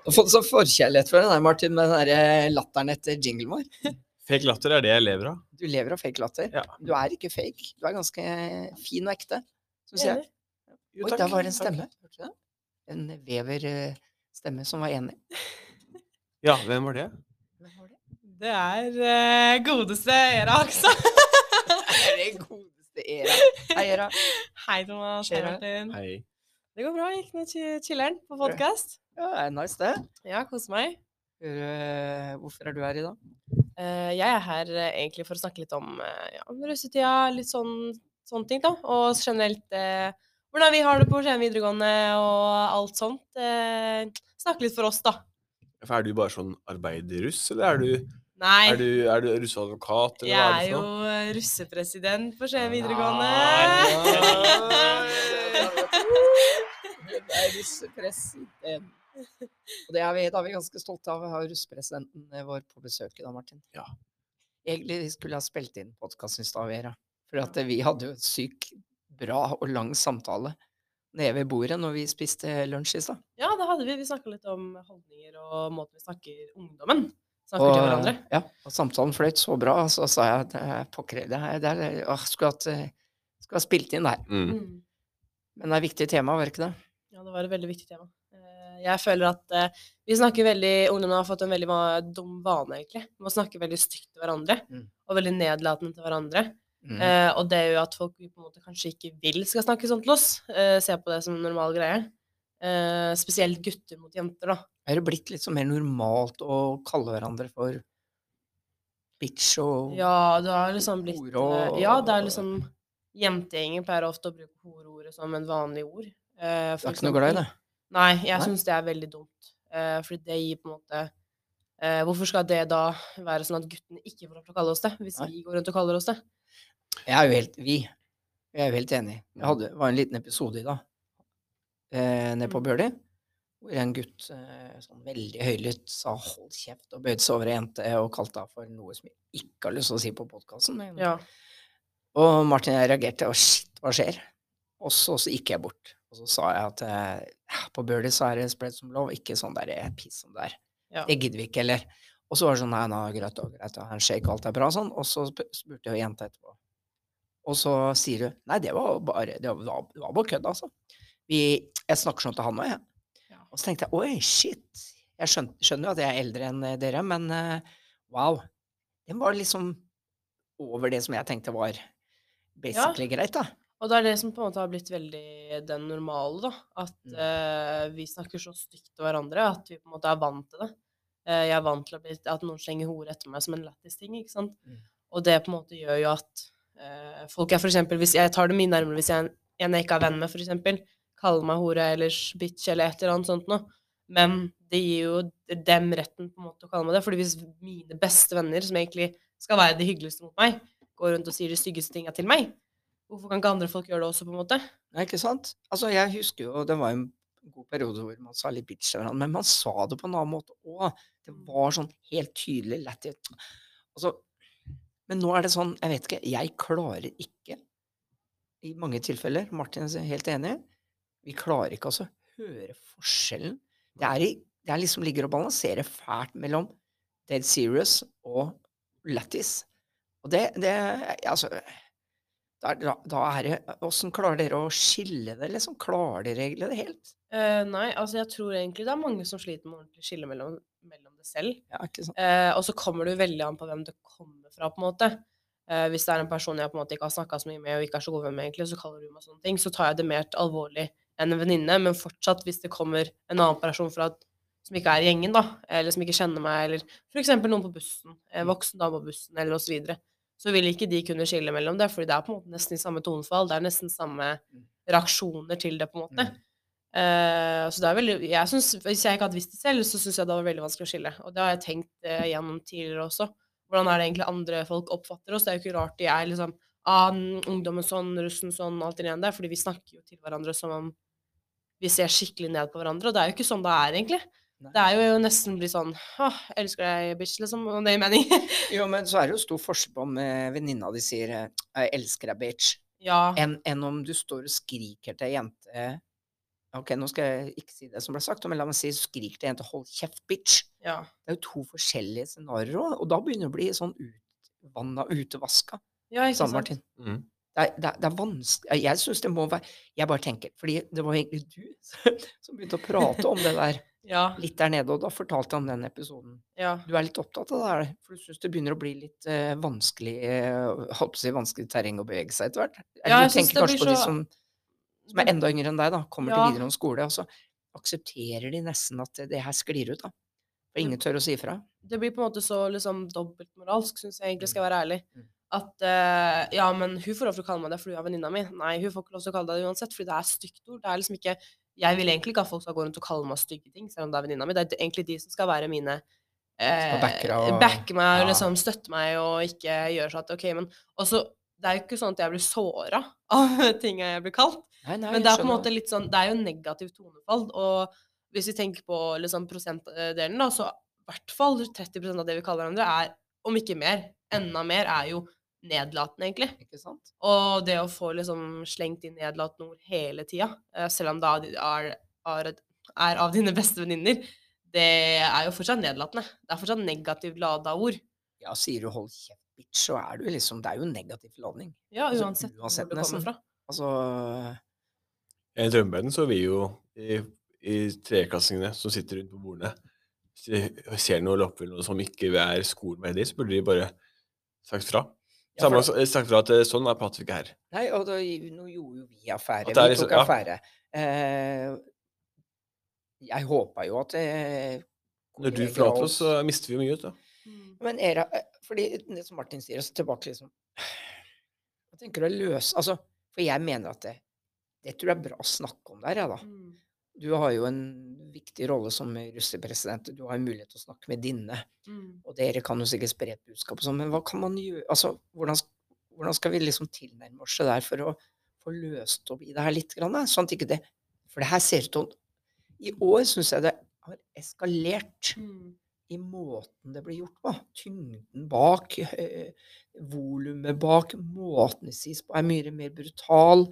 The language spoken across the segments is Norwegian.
Du har fått sånn forkjærlighet for den der, Martin, med den der eh, latteren etter jinglen vår. Fake latter er det jeg lever av. Du lever av fake latter. Ja. Du er ikke fake. Du er ganske fin og ekte. Som du sier. Enig. Jo, Oi, takk, der var det en takk. stemme. Hørte du det? En veverstemme som var enig. Ja, hvem var det? Hvem var det? Det er eh, godeste Era Aksa. Er det godeste Era? Hei, Era. Hei, Thomas. Hei, Era. Martin. Hei. Det går bra. Gikk ned til chiller'n på podkast. Ja, det er nice, det. Ja, kose meg. Hører, eh, Hvorfor er du her i dag? Eh, jeg er her eh, egentlig for å snakke litt om eh, ja, om russetida, litt sånn, sånne ting, da. Og generelt eh, hvordan vi har det på Skien videregående og alt sånt. Eh, snakke litt for oss, da. For Er du bare sånn arbeiderruss, eller er du, Nei, er du, er du russeadvokat, eller jeg hva er er det jo for noe? eh, russepresident på Skien Nei. videregående. Russepresident. Og det er vi, da er vi ganske stolte av å ha russepresidenten eh, vår på besøk i dag, Martin. Ja. Egentlig skulle jeg ha spilt inn podkasten i stad, Vera. For at vi hadde jo en sykt bra og lang samtale nede ved bordet når vi spiste lunsj i stad. Ja, det hadde vi. Vi snakka litt om holdninger og måten vi snakker ungdommen snakker til hverandre. ja, og samtalen fløyt så bra, og så sa jeg at eh, pokker, det her det er- åh, skulle hatt eh, skulle ha spilt inn der. Mm. Mm. Men det er et viktig tema, var det ikke det? Ja, det var et veldig viktig tema. Eh, Jeg føler at eh, vi snakker veldig Ungdommen har fått en veldig va- dum vane, egentlig. Med å snakke veldig stygt til hverandre. Mm. Og veldig nedlatende til hverandre. Mm. Eh, og det er jo at folk vi på en måte kanskje ikke vil skal snakke sånn til oss. Eh, se på det som en normal greie. Eh, spesielt gutter mot jenter, da. Er det blitt litt sånn mer normalt å kalle hverandre for bitch og Ja, det har liksom blitt Hore og- eh, Ja, det er liksom Jentegjenger pleier ofte å bruke horeordet som en vanlig ord. Eh, Du for er ikke noe glad i eksempel. det? Nei, jeg Nei. syns det er veldig dumt. Eh, fordi det gir på en måte eh, Hvorfor skal det da være sånn at guttene ikke får lov til å kalle oss det, hvis Nei. vi går rundt og kaller oss det? Jeg er jo helt Vi. Jeg er jo helt enig. Jeg hadde det var en liten episode i dag eh, nede på Mm. Bjørli. Hvor en gutt eh, sånn veldig høylytt sa 'hold kjeft' og bøyde seg over ei jente og kalte henne for noe som jeg ikke har lyst til å si på podkasten. Ja. Og Martin og jeg reagerte, og shit, hva skjer? Og så, så gikk jeg bort, og så sa jeg at eh, på Bøhler så er det spread som lov, ikke sånn der eh, piss som det er. Ja. Det gidder vi ikke, eller? Og så var det sånn, nei, nei, greit, da, greit, da, handshake, alt er bra, og sånn. Og så sp- spurte jeg jenta etterpå. Og så sier hun, nei, det var bare, det var, det var bare kødd, altså. Vi, jeg snakker sånn til han også, jeg. Ja. Og så tenkte jeg, oi, shit. Jeg skjøn- skjønner jo at jeg er eldre enn eh, dere, men eh, wow. Den var liksom over det som jeg tenkte var basically greit, da. Og det er det som på en måte har blitt veldig den normale, da. At Mm. eh, vi snakker så stygt til hverandre at vi på en måte er vant til det. Eh, jeg er vant til å bli, at noen slenger hore etter meg som en lættis ting, ikke sant. Mm. Og det på en måte gjør jo at eh, folk er for eksempel, hvis jeg tar det mye nærmere hvis jeg, en jeg ikke er venn med, for eksempel, kaller meg hore eller bitch eller et eller annet sånt noe. Men det gir jo dem retten på en måte å kalle meg det. fordi hvis mine beste venner, som egentlig skal være de hyggeligste mot meg, går rundt og sier de styggeste tinga til meg, Hvorfor kan ikke andre folk gjøre det også, på en måte? Nei, ikke sant? Altså, jeg husker jo, det var jo en god periode hvor man sa litt bitch til hverandre, men man sa det på en annen måte òg. Det var sånn helt tydelig lættis. Altså, men nå er det sånn, jeg vet ikke, jeg klarer ikke i mange tilfeller, Martin er helt enig, vi klarer ikke altså å høre forskjellen. Det er, i, det er liksom ligger og balanserer fælt mellom dead serious og lættis. Og det, det altså, da, da, da er det Åssen klarer dere å skille det, liksom? Klarer dere egentlig det helt? Eh, nei, altså jeg tror egentlig det er mange som sliter med å ordentlig skille mellom, mellom det selv. Ja, ikke sant? Eh, og så kommer det jo veldig an på hvem det kommer fra, på en måte. Eh, hvis det er en person jeg på en måte ikke har snakka så mye med, og ikke er så god venn med, egentlig, så kaller du meg sånne ting, så tar jeg det mer til alvorlig enn en venninne. Men fortsatt, hvis det kommer en annen person fra som ikke er i gjengen, da, eller som ikke kjenner meg, eller f.eks. noen på bussen, en voksen dame på bussen, eller osv., så, videre, så vil ikke de kunne skille mellom det, fordi det er på en måte nesten i samme tonefall, det er nesten samme reaksjoner til det, på en måte. Eh, så det er veldig, jeg synes, Hvis jeg ikke hadde visst det selv, så syns jeg det var veldig vanskelig å skille. Og det har jeg tenkt eh, gjennom tidligere også. Hvordan er det egentlig andre folk oppfatter oss? Det er jo ikke rart de er liksom ah, n- ungdommen sånn, russen sånn, alt inni der. Fordi vi snakker jo til hverandre som om vi ser skikkelig ned på hverandre. Og det er jo ikke sånn det er, egentlig. Nei. Det er jo nesten blitt sånn åh, jeg elsker deg, bitch, liksom. Om det gir mening. Jo, men så er det jo stor forskjell på om eh, venninna di sier eh, 'jeg elsker deg, bitch', ja. enn enn om du står og skriker til ei jente Ok, nå skal jeg ikke si det som ble sagt, men la meg si skrik til en til 'hold kjeft, bitch'. Ja. Det er jo to forskjellige scenarioer òg, og da begynner det å bli sånn utvanna, utevaska. ja ikke Sanne sant? Martin. Mm. Det er, det er, det er vanskelig Jeg syns det må være Jeg bare tenker Fordi det var egentlig du som begynte å prate om det der Ja, litt der nede, og da fortalte jeg om den episoden. ja. Du er litt opptatt av det her, for du syns det begynner å bli litt eh, vanskelig eh, holdt på å si vanskelig terreng å bevege seg etter hvert? Eller Ja, jeg du synes tenker det kanskje blir på de så- som, som er enda yngre enn deg, da, kommer Ja. til videregående skole, og så aksepterer de nesten at det her sklir ut, da. For ingen tør å si ifra. det blir på en måte så liksom dobbeltmoralsk, syns jeg egentlig, skal jeg være ærlig. Mm. At eh, ja, men hun får lov til å kalle meg det fordi hun er venninna mi. Nei, hun får ikke lov til å kalle deg det uansett, fordi det er stygt ord. Det er liksom ikke Jeg vil egentlig ikke at folk skal gå rundt og kalle meg stygge ting, selv om det er venninna mi. Det er egentlig de som skal være mine eh, backe deg og- Backe meg og Ja. liksom støtte meg og ikke gjøre sånn at OK, men Og så Det er jo ikke sånn at jeg blir såra av ting jeg blir kalt. Nei, nei, Men jeg det er på en skjønner måte litt sånn, det er jo negativt tonefall. Og hvis vi tenker på liksom prosentdelen, da, så i hvert fall 30 av det vi kaller hverandre, er, om ikke mer, enda mer, er jo nedlatende, egentlig. det, ikke sant? Og det å få liksom slengt inn nedlatende ord hele tida, eh, selv om det er, er, er, er av dine beste venninner, det er jo fortsatt nedlatende. Det er fortsatt negativt lada ord. Ja, sier du 'hold kjeft, bitch', så er du liksom Det er jo negativ ladning. Ja, Altså, uansett, uansett hvor det nesten. kommer fra. Altså I drømmeverdenen så vil jo i, i treklassingene som sitter rundt på bordene, hvis de ser noe lopper eller noe som ikke er skolen med i, så burde de bare sagt fra. ja, for- Samme, sagt fra at eh, sånn er prater vi ikke her. Nei, og da, gi- nå gjorde jo vi affære. At Vi det er tok liksom- ja. affære. Eh, jeg håpa jo at eh, Når du kolleger forlater og- oss, så mister vi jo mye ut, da. Mm. Men Era, eh, fordi det som Martin sier, altså tilbake liksom Hva tenker du å løse Altså, for jeg mener at det, det tror jeg er bra å snakke om der, jeg, da. Mm. Du har jo en viktig rolle som russepresident. Du har jo mulighet til å snakke med dine. Mm. Og dere kan jo sikkert spre et budskap og sånn, men hva kan man gjøre Altså, hvordan, sk- hvordan skal vi liksom tilnærme oss det der for å få løst opp i det her litt? Grann, da? sånn at ikke det For det her ser ut til å I år syns jeg det har eskalert Mm. i måten det blir gjort på. Tyngden bak, eh, volumet bak, måten det sies på er mye mer brutal.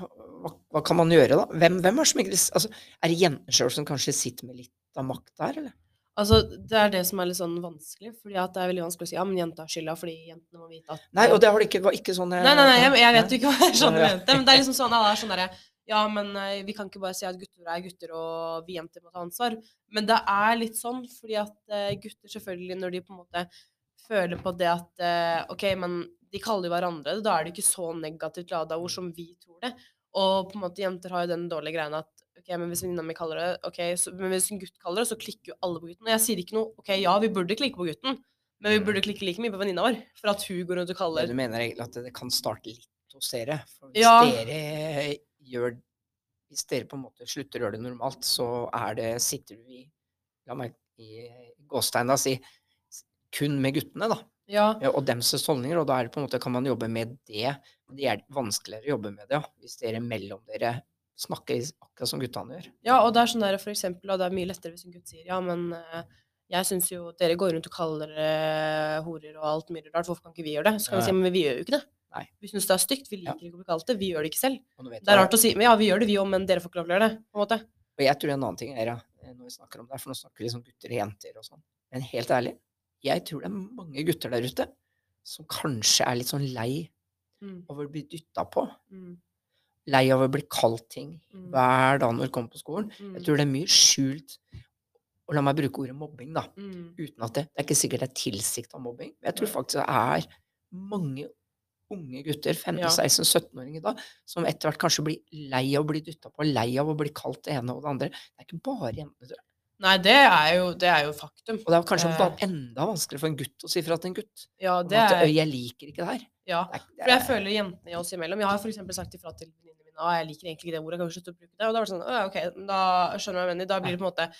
Hva, hva kan man gjøre, da? Hvem, hvem er det som egentlig s- altså, Er det jentene sjøl som kanskje sitter med litt av makta her, eller? Altså, Det er det som er litt sånn vanskelig. fordi at Det er veldig vanskelig å si ja, men jenta har skylda fordi jentene må vite at Nei, og det har det ikke, var ikke sånn Nei, nei, nei, jeg, jeg vet jo ikke hva jeg sånn Ja, ja. mente. Men det er liksom sånn, ja, det er sånn derre Ja, men eh, vi kan ikke bare si at gutter er gutter, og vi jenter må ta ansvar. Men det er litt sånn, fordi at eh, gutter selvfølgelig, når de på en måte føler på det at eh, OK, men de kaller jo hverandre det, da er det ikke så negativt lada ord som vi tror det. Og på en måte jenter har jo den dårlige greia at OK, men hvis venninna mi kaller det OK, så, men hvis en gutt kaller det, så klikker jo alle på gutten. Og jeg sier ikke noe OK, ja, vi burde klikke på gutten, men vi Mm. burde klikke like mye på venninna vår for at hun går rundt Men og kaller Du mener egentlig at det kan starte litt hos dere? For hvis Ja. dere eh, gjør Hvis dere på en måte slutter å gjøre det normalt, så er det Sitter du i La meg i gåstegn da si s- kun med guttene, da. Ja. Ja, Og dems holdninger. Og da er det på en måte, kan man jobbe med det. Men det er vanskeligere å jobbe med det, ja. Hvis dere mellom dere snakker akkurat som guttene gjør. Ja, og det er sånn der, for eksempel, og det er mye lettere hvis en gutt sier ja, men eh, jeg syns jo dere går rundt og kaller dere eh, horer og alt mulig rart, hvorfor kan ikke vi gjøre det? Så kan Ja. vi si men vi gjør jo ikke det. Nei. Vi syns det er stygt, vi Ja. liker ikke å bli kalt det, vi gjør det ikke selv. Og nå vet Det er jeg- rart å si men ja, vi gjør det vi òg, men dere får ikke lov til å gjøre det. på en måte. Og jeg tror en annen ting er, ja, når vi snakker om det, her, for nå snakker vi liksom gutter og jenter og sånn, men helt ærlig, jeg tror det er mange gutter der ute som kanskje er litt sånn lei Mm, over å bli dytta på. mm, Lei av å bli kalt ting mm, hver dag når de kommer på skolen. Jeg mm, tror det er mye skjult Og la meg bruke ordet mobbing, da. mm, Uten at det, det er ikke sikkert det er tilsikta mobbing. Men jeg tror faktisk det er mange unge gutter, Ja. 15-16-17-åringer da, som etter hvert kanskje blir lei av å bli dytta på, lei av å bli kalt det ene og det andre. Det er ikke bare jentene, tror jeg. Nei, det er jo, det er jo faktum. Og det er kanskje Eh. va- enda vanskeligere for en gutt å si fra til en gutt. Ja, Om det at er, «Øy, 'jeg liker ikke det her'. ja. Det er, det For jeg er, føler jentene i oss imellom Jeg har for eksempel sagt ifra til venninnene mine at jeg liker egentlig ikke det ordet, kan vi slutte å bruke det? Og da var det sånn, «Å ja, ok, da skjønner jeg hva jeg mener. Da blir det på en måte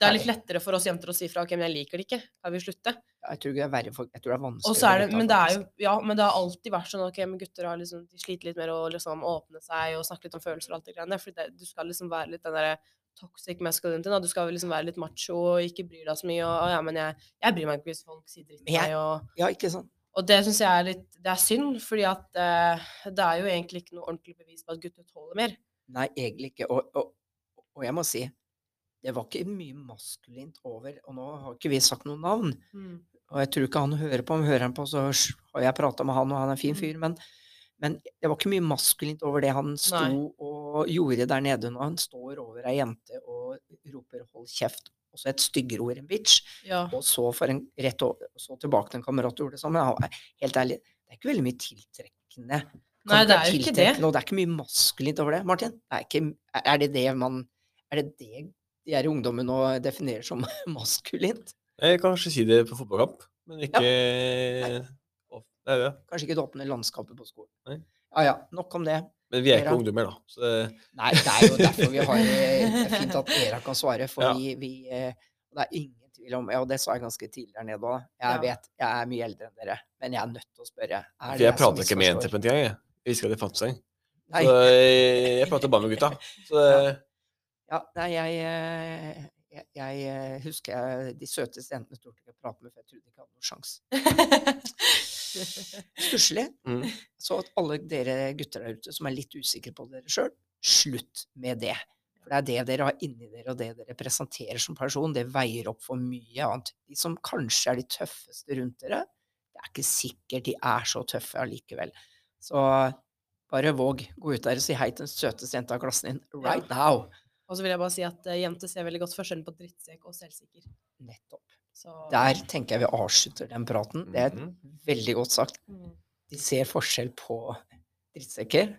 Det er litt lettere for oss jenter å si fra ok, men jeg liker det ikke, kan vi slutte? jeg tror ikke det er verre for Jeg tror det er vanskelig. Og så er det, men det er jo, ja, men det har alltid vært sånn ok, men gutter har liksom, de sliter litt mer å liksom åpne seg og snakke litt om følelser og alt det greiene der. For det, du skal liksom være litt den derre toxic masculinity, da. Du skal liksom være litt macho og ikke bry deg så mye og, «Å ja, men jeg, jeg bryr meg ikke hvis folk sier dritt Men til jeg- meg og Ja, ikke sant. og det syns jeg er litt Det er synd, fordi at eh, det er jo egentlig ikke noe ordentlig bevis på at gutter tåler mer. Nei, egentlig ikke. Og, og, og jeg må si, det var ikke mye maskulint over Og nå har ikke vi sagt noe navn, Mm. og jeg tror ikke han hører på. Om hører han på, så har jeg prata med han, og han er en Mm. fin fyr. Men, men det var ikke mye maskulint over det han sto Nei. og gjorde der nede når han står over ei jente og roper 'hold kjeft'. Også et styggere ord enn bitch. Ja. Og så, for en, rett over, så tilbake til en kamerat du gjorde det samme. Ja, Helt ærlig, det er ikke veldig mye tiltrekkende. Kan Nei, det være er jo ikke det. tiltrekkende, Og det er ikke mye maskulint over det, Martin. Det er, ikke, er det det man Er det det de her ungdommen nå definerer som maskulint? Jeg kan kanskje si det på fotballkamp, men ikke Off- Nei, ja. Kanskje ikke det åpne landskapet på skolen. Nei. Ja ja, nok om det. Men vi er Dere- ikke ungdommer, da. Så det, Nei, det er jo derfor vi har eh, Det er fint at Era kan svare, for Ja. vi, vi eh, Det er ingen tvil om Ja, og det sa jeg ganske tidlig der nede òg. Jeg Ja. vet jeg er mye eldre enn dere, men jeg er nødt til å spørre. Er for det jeg som prata ikke med misforstår? jenter på en gang. Jeg, jeg visste ikke at det fantes engang. Nei. Så jeg, jeg prata bare med gutta. Så eh, Ja. Ja, nei, jeg, eh, jeg, jeg eh, husker jeg, de søteste jentene turte ikke å prate med, for jeg trodde ikke jeg hadde noen sjanse. Stusslig. mm. Så at alle dere gutter der ute som er litt usikre på dere sjøl, slutt med det. For det er det dere har inni dere, og det dere presenterer som person, det veier opp for mye annet. De som kanskje er de tøffeste rundt dere, det er ikke sikkert de er så tøffe allikevel. Så bare våg. Gå ut der og si hei til den søteste jenta i klassen din right now. Og så vil jeg bare si at eh, jenter ser veldig godt forskjellen på drittsekk og selvsikker. Nettopp. Så, Der tenker jeg vi avslutter den praten. Det er Mhm. veldig godt sagt. Mm. De ser forskjell på drittsekker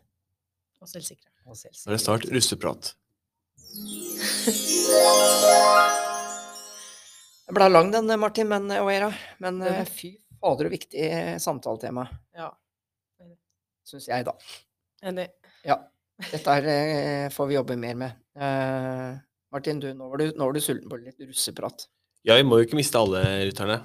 Og selvsikre. og Nå er det selvsikkerhet. snart russeprat. Det ble lang den, Martin men, og Era, men Den- eh, fy fader og viktig eh, samtaletema, Ja. syns jeg, da. Enig. Ja. Dette her eh, får vi jobbe mer med. Eh, Martin, du, nå var du, nå var du sulten på litt russeprat. Ja, vi må jo ikke miste alle lytterne.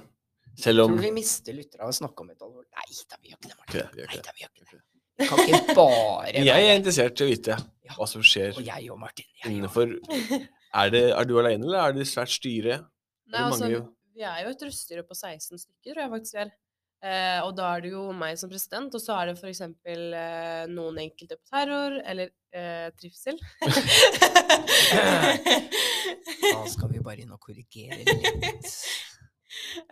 Selv om Tror du vi mister lyttere av å snakke om et alvor? Nei da, vi gjør ikke det, Ok, Martin. vi gjør Nei ikke det. da, vi gjør ikke det. Vi kan ikke bare Men Jeg er interessert i å vite Ja. hva som skjer Og jeg og Martin. Jeg og innenfor Er, det, er du alene, eller er det svært styre? Nei, Hvor altså, mange jo- vi er jo et røststyre på 16 stykker, tror jeg faktisk vi er. Eh, og da er det jo meg som president, og så er det f.eks. Eh, noen enkelte på terror, eller eh, trivsel. Da skal vi bare inn og korrigere litt.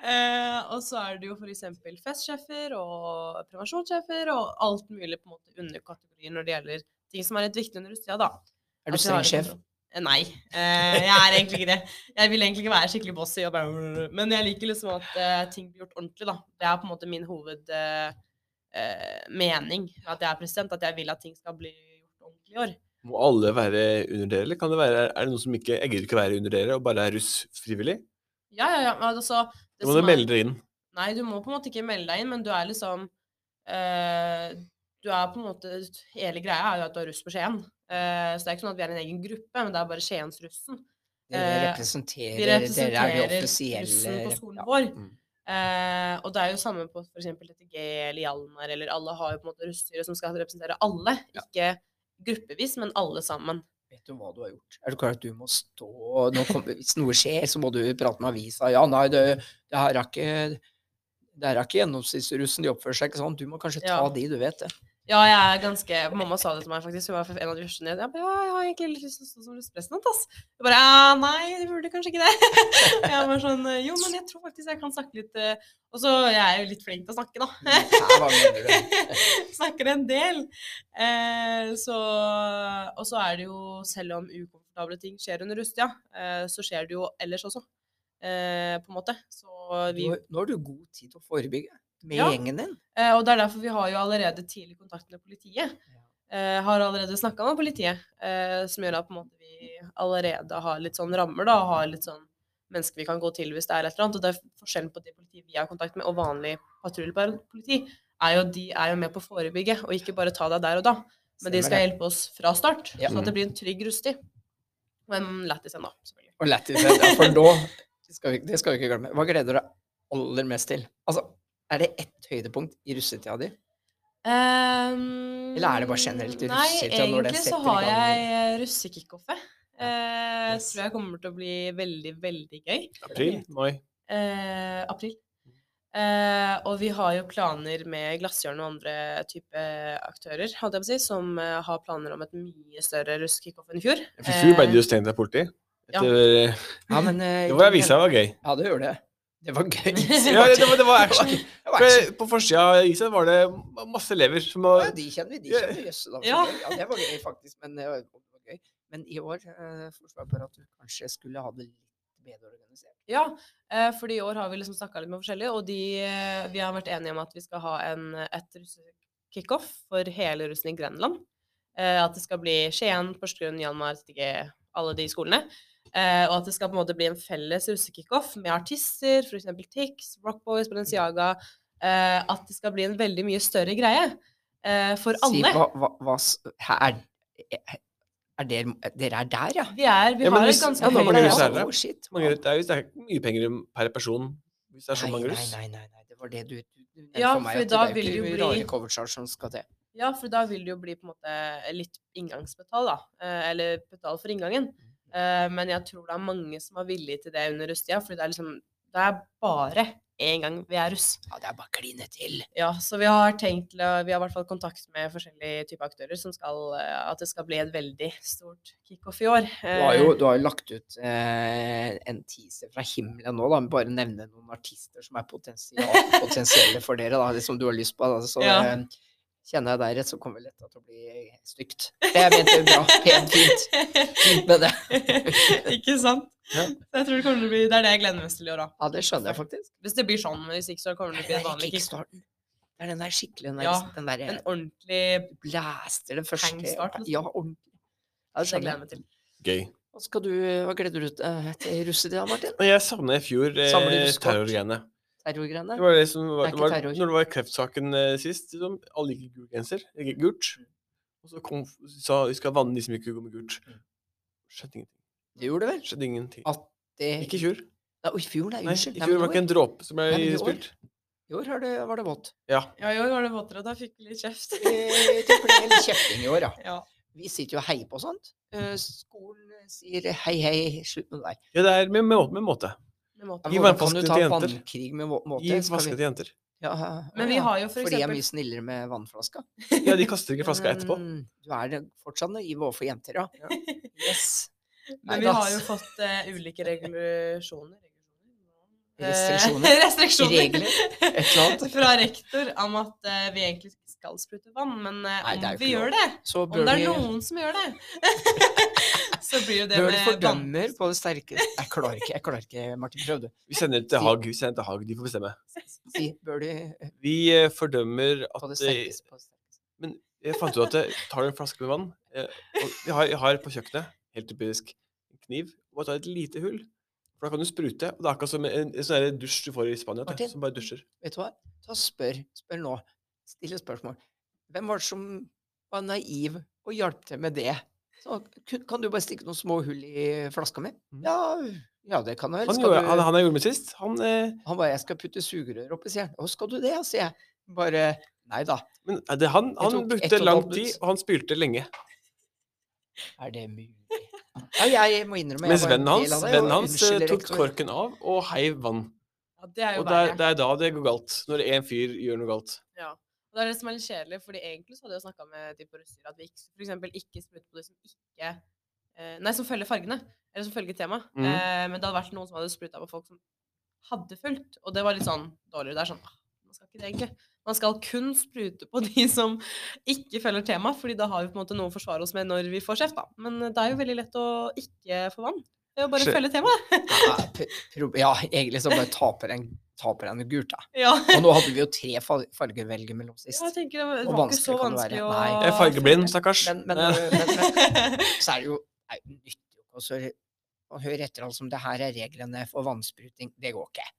eh, og så er det jo f.eks. festsjefer og prevensjonssjefer og alt mulig på en måte under kategorien når det gjelder ting som er litt viktig under russetida, da. Er du At vi har streng det sjef? kontroll. Eh, Nei, eh, jeg er egentlig ikke det. Jeg vil egentlig ikke være skikkelig bossy. Og bare, men jeg liker liksom at eh, ting blir gjort ordentlig, da. Det er på en måte min hovedmening eh, mening med at jeg er president, at jeg vil at ting skal bli gjort ordentlig i år. Må alle være under dere, eller kan det være, er det noen som ikke Jeg gidder ikke å være under dere og bare er russ frivillig? Ja, ja, ja. men Altså, det Da må som dere er- melde dere inn. Nei, du må på en måte ikke melde deg inn, men du er liksom eh, Du er på en måte Hele greia er jo at du er russ på Skien. Eh, så det er ikke sånn at vi er en egen gruppe, men det er bare Skiensrussen. Dere Eh, representerer, Vi dere er de representerer offisielle russen på rep- skolen ja. vår. Mm. Eh, og det er jo samme på f.eks. TTG eller Hjalmar eller alle har jo på en måte russestyre som skal representere alle. Ikke gruppevis, men alle sammen. Vet du hva du har gjort? Er du klar at du må stå nå kommer- Hvis noe skjer, så må du prate med avisa. Ja, nei, det, det her er ikke det her er ikke gjennomsnittsrussen, de oppfører seg ikke sånn. Du må kanskje ta Ja. de, du vet det. Ja, jeg er ganske Mamma sa det til meg, faktisk. Hun var en av de første ned. Jeg, bare, ja, jeg har egentlig litt lyst til å stå som russepresident, ass. Hun bare ja, nei, du burde kanskje ikke det. Jeg var sånn Jo, men jeg tror faktisk jeg kan snakke litt eh, Og så jeg er jo litt flink til å snakke, da. Ja, hva mener du? snakker en del. Eh, så, og så er det jo, selv om ukomfortable ting skjer under rusttida, eh, så skjer det jo ellers også, eh, på en måte. Så vi, Nå, nå har du god tid til å forebygge med Ja. gjengen din. eh, og det er derfor vi har jo allerede tidlig kontakt med politiet. Eh, har allerede snakka med politiet, eh, som gjør at på en måte vi allerede har litt sånn rammer, da, og har litt sånn mennesker vi kan gå til hvis det er et eller annet. Og det er forskjellen på det politiet vi har kontakt med, og vanlig patruljepoliti, er jo at de er jo med på å forebygge, og ikke bare ta deg der og da. Men de Stemmer skal det. hjelpe oss fra start, Ja. sånn at det blir en trygg rustig. Og en lættis en, da. selvfølgelig. Og lættis, ja, for nå skal vi, Det skal vi ikke glemme. Hva gleder du deg aller mest til? Altså, er det ett høydepunkt i russetida di? Ehm, Eller er det bare generelt i russetida Nei, når det egentlig så setter i har gang? jeg eh, russekickoffet. Eh, Yes. Tror jeg kommer til å bli veldig, veldig gøy. April? Mai? Eh, april. Mm. Eh, og vi har jo planer med Glasshjørnet og andre type aktører hadde jeg på å si, som eh, har planer om et mye større russ kickoff enn i fjor. For i fjor ble Eh, det jo stengt av politi. ja. Etter, Ja, men, eh, Det var avisa, det var gøy. Ja, det gjør det. Det var gøy. Ja, det, det, var, det var action. Det var action. For På forsida av avisa var det masse elever som var Ja, de kjenner vi. De kjenner vi. Jøss, da. så Ja. gøy. Ja, det var gøy, faktisk. Men eh, det var det var gøy. Men i år eh, foreslo jeg bare at du kanskje skulle ha det litt bedre organisert. Ja, eh, fordi i år har vi liksom snakka litt med forskjellige, og de, eh, vi har vært enige om at vi skal ha en, eh, et russekickoff for hele russen i Grenland. Eh, at det skal bli Skien, Porsgrunn, Janmar, Stige, alle de skolene. Eh, og at det skal på en måte bli en felles russekickoff med artister, f.eks. Tix, Rockboys, Balenciaga. Eh, at det skal bli en veldig mye større greie eh, for alle. Si, hva, hva, hva s- hæ, er, eh, er dere, dere er der, ja? Vi, er, vi Ja, men har hvis- et ganske ja, da høyt må dere nivå. se det. Oh, shit. mange, Det er jo det er ikke mye penger per person hvis det er så Nei, mange nei, russ. nei, nei, nei, det var det du, du, du nevnte Ja, for meg. for at da det er vil det jo jo ikke bli- rare covercharge som skal til. Ja, for da vil det jo bli på en måte litt inngangsbetal, da. eh, Eller betal for inngangen. Eh, Men jeg tror det er mange som er villige til det under russetida, fordi det er liksom Det er bare én gang vi er russ. Ja, det er bare å kline til. Ja, så vi har tenkt til å Vi har i hvert fall kontakt med forskjellige typer aktører som skal eh, At det skal bli et veldig stort kickoff i år. Du har jo, Eh, du har jo lagt ut eh, en teaser fra himmelen nå, da. men Bare nevne noen artister som er potensial, potensielle for dere, da, det som du har lyst på. Da. Så Ja. eh, kjenner jeg deg rett, så kommer det lett til å bli stygt. Det er ment bra. Helt fint. Fint med det. Eh, Ikke sant? Ja. Så Jeg tror det kommer til å bli Det er det jeg gleder meg mest til i år, da. Ja, det skjønner jeg faktisk. Hvis det blir sånn, men hvis ikke så kommer Det det er den til å bli en der vanlig kickstart. kickstarten. Det er den der skikkelig den der, Ja, den der En ordentlig blaster, den første. hangstart, liksom. Ja, ordentlig. Ja, det Det gleder skjønner jeg jeg. meg til. Gøy. Hva, skal du, hva gleder du deg eh, til i russetida, Martin? Men jeg savna i fjor eh, Savner du skott? terrorgreiene. Terrorgreiene? Det var det som Det er var, det ikke var, terror. når det var kreftsaken eh, sist, liksom, alle gikk i gul genser. eh, Gult. Og så kom, sa vi skal vanne de som ikke går med gult. Mm. Skjedde ingenting. Det gjorde det vel? Skjedde ingenting. At det Ikke i fjor. Nei, og i fjor, nei. Nei, i Unnskyld. Nei, fjor men var ikke en dråpe som Nei, men i ble år. spilt. I år har det, var det vått. Ja. Ja, i år var det våtere, da fikk vi litt kjeft. Eh, Det ble litt kjefting i år, ja. ja. Vi sitter jo og heier på sånt. Eh, Skolen sier hei, hei, slutt med deg. ja, det er med, med, med måte. med måte. Ja, Gi hvordan vannflaske kan du ta til jenter. vannkrig med må- måte? Gi Skal vi- flaske til jenter. Ja, Men vi ja. har jo for Fordi jeg er eksempel mye snillere med vannflaska. Ja, de kaster ikke flaska etterpå. Mm, Du er det fortsatt naiv overfor jenter, ja. Yes. Men vi har jo fått eh, ulike regulasjoner. Eh, Restriksjoner. restriksjoner. Regler. Et eller annet. Fra rektor om at eh, vi egentlig ikke skal sprute vann, men eh, Nei, det er jo om vi ikke gjør det, Så om bør det er vi noen som gjør det, så blir jo det bør du med vann. fordømmer på det sterkeste Jeg klarer ikke, jeg klarer ikke, Martin. Prøv du. Vi sender det til Haag. Vi sender det til Haag. De får bestemme. Si bør du eh, Vi eh, fordømmer på det at eh, sterkeste. på det sterkeste. Men jeg fant ut at jeg tar du en flaske med vann eh, og jeg har, jeg har på kjøkkenet, helt typisk, en kniv og jeg tar et lite hull. For da kan du sprute. Og det er akkurat som en, en sånn der dusj du får i Spania, vet du, Martin? som bare dusjer. Vet du hva? Ta og spør, spør nå. Stille spørsmål. Hvem var det som var naiv og hjalp til med det? Så, kun- kan du bare stikke noen små hull i flaska mi? Mhm. Ja, ja, det kan jeg vel. Han, Skal gjorde, han, du... han jeg gjorde med sist, han eh, Han bare, jeg skal putte sugerør oppi, sier han. Å, skal du det, ja, sier jeg. Bare, nei da. men eh, det, han, han tok ett brukte og et lang halvt tid, minutt. og han spylte lenge. Er det mulig? Ja, jeg må innrømme. jeg Mens var en vennen hans, del av det, og vennen hans eh, unnskyld, tok rektor. korken av og heiv vann. Ja, det er jo Og det er, verre. det er da det går galt. Når en fyr gjør noe galt. Ja. Og det er det som er litt kjedelig, fordi egentlig så hadde jeg snakka med de på russestyret at vi ikke, for eksempel ikke spruter på de som ikke eh, Nei, som følger fargene, eller som følger temaet. Mm. Mhm. Eh, men det hadde vært noen som hadde spruta på folk som hadde fulgt, og det var litt sånn dårlig. Det er sånn ah, Man skal ikke det, egentlig. Man skal kun sprute på de som ikke følger temaet, fordi da har vi på en måte noe å forsvare oss med når vi får kjeft, da. Men eh, det er jo veldig lett å ikke få vann. Det er å bare Skje- følge temaet. Ja, p- pro- Ja, egentlig så bare taper en, taper en gult, da. Ja. Og nå hadde vi jo tre far- farger å velge mellom sist. Jeg tenker det var, det Og var ikke så vanskelig kan det vanskelig være. å Nei. Jeg er fargeblind, stakkars. Men, men, Eh, øh, men, men så er det jo det er jo nyttig å så- å høre etter alt som det her er reglene for vannspruting. Det går ikke.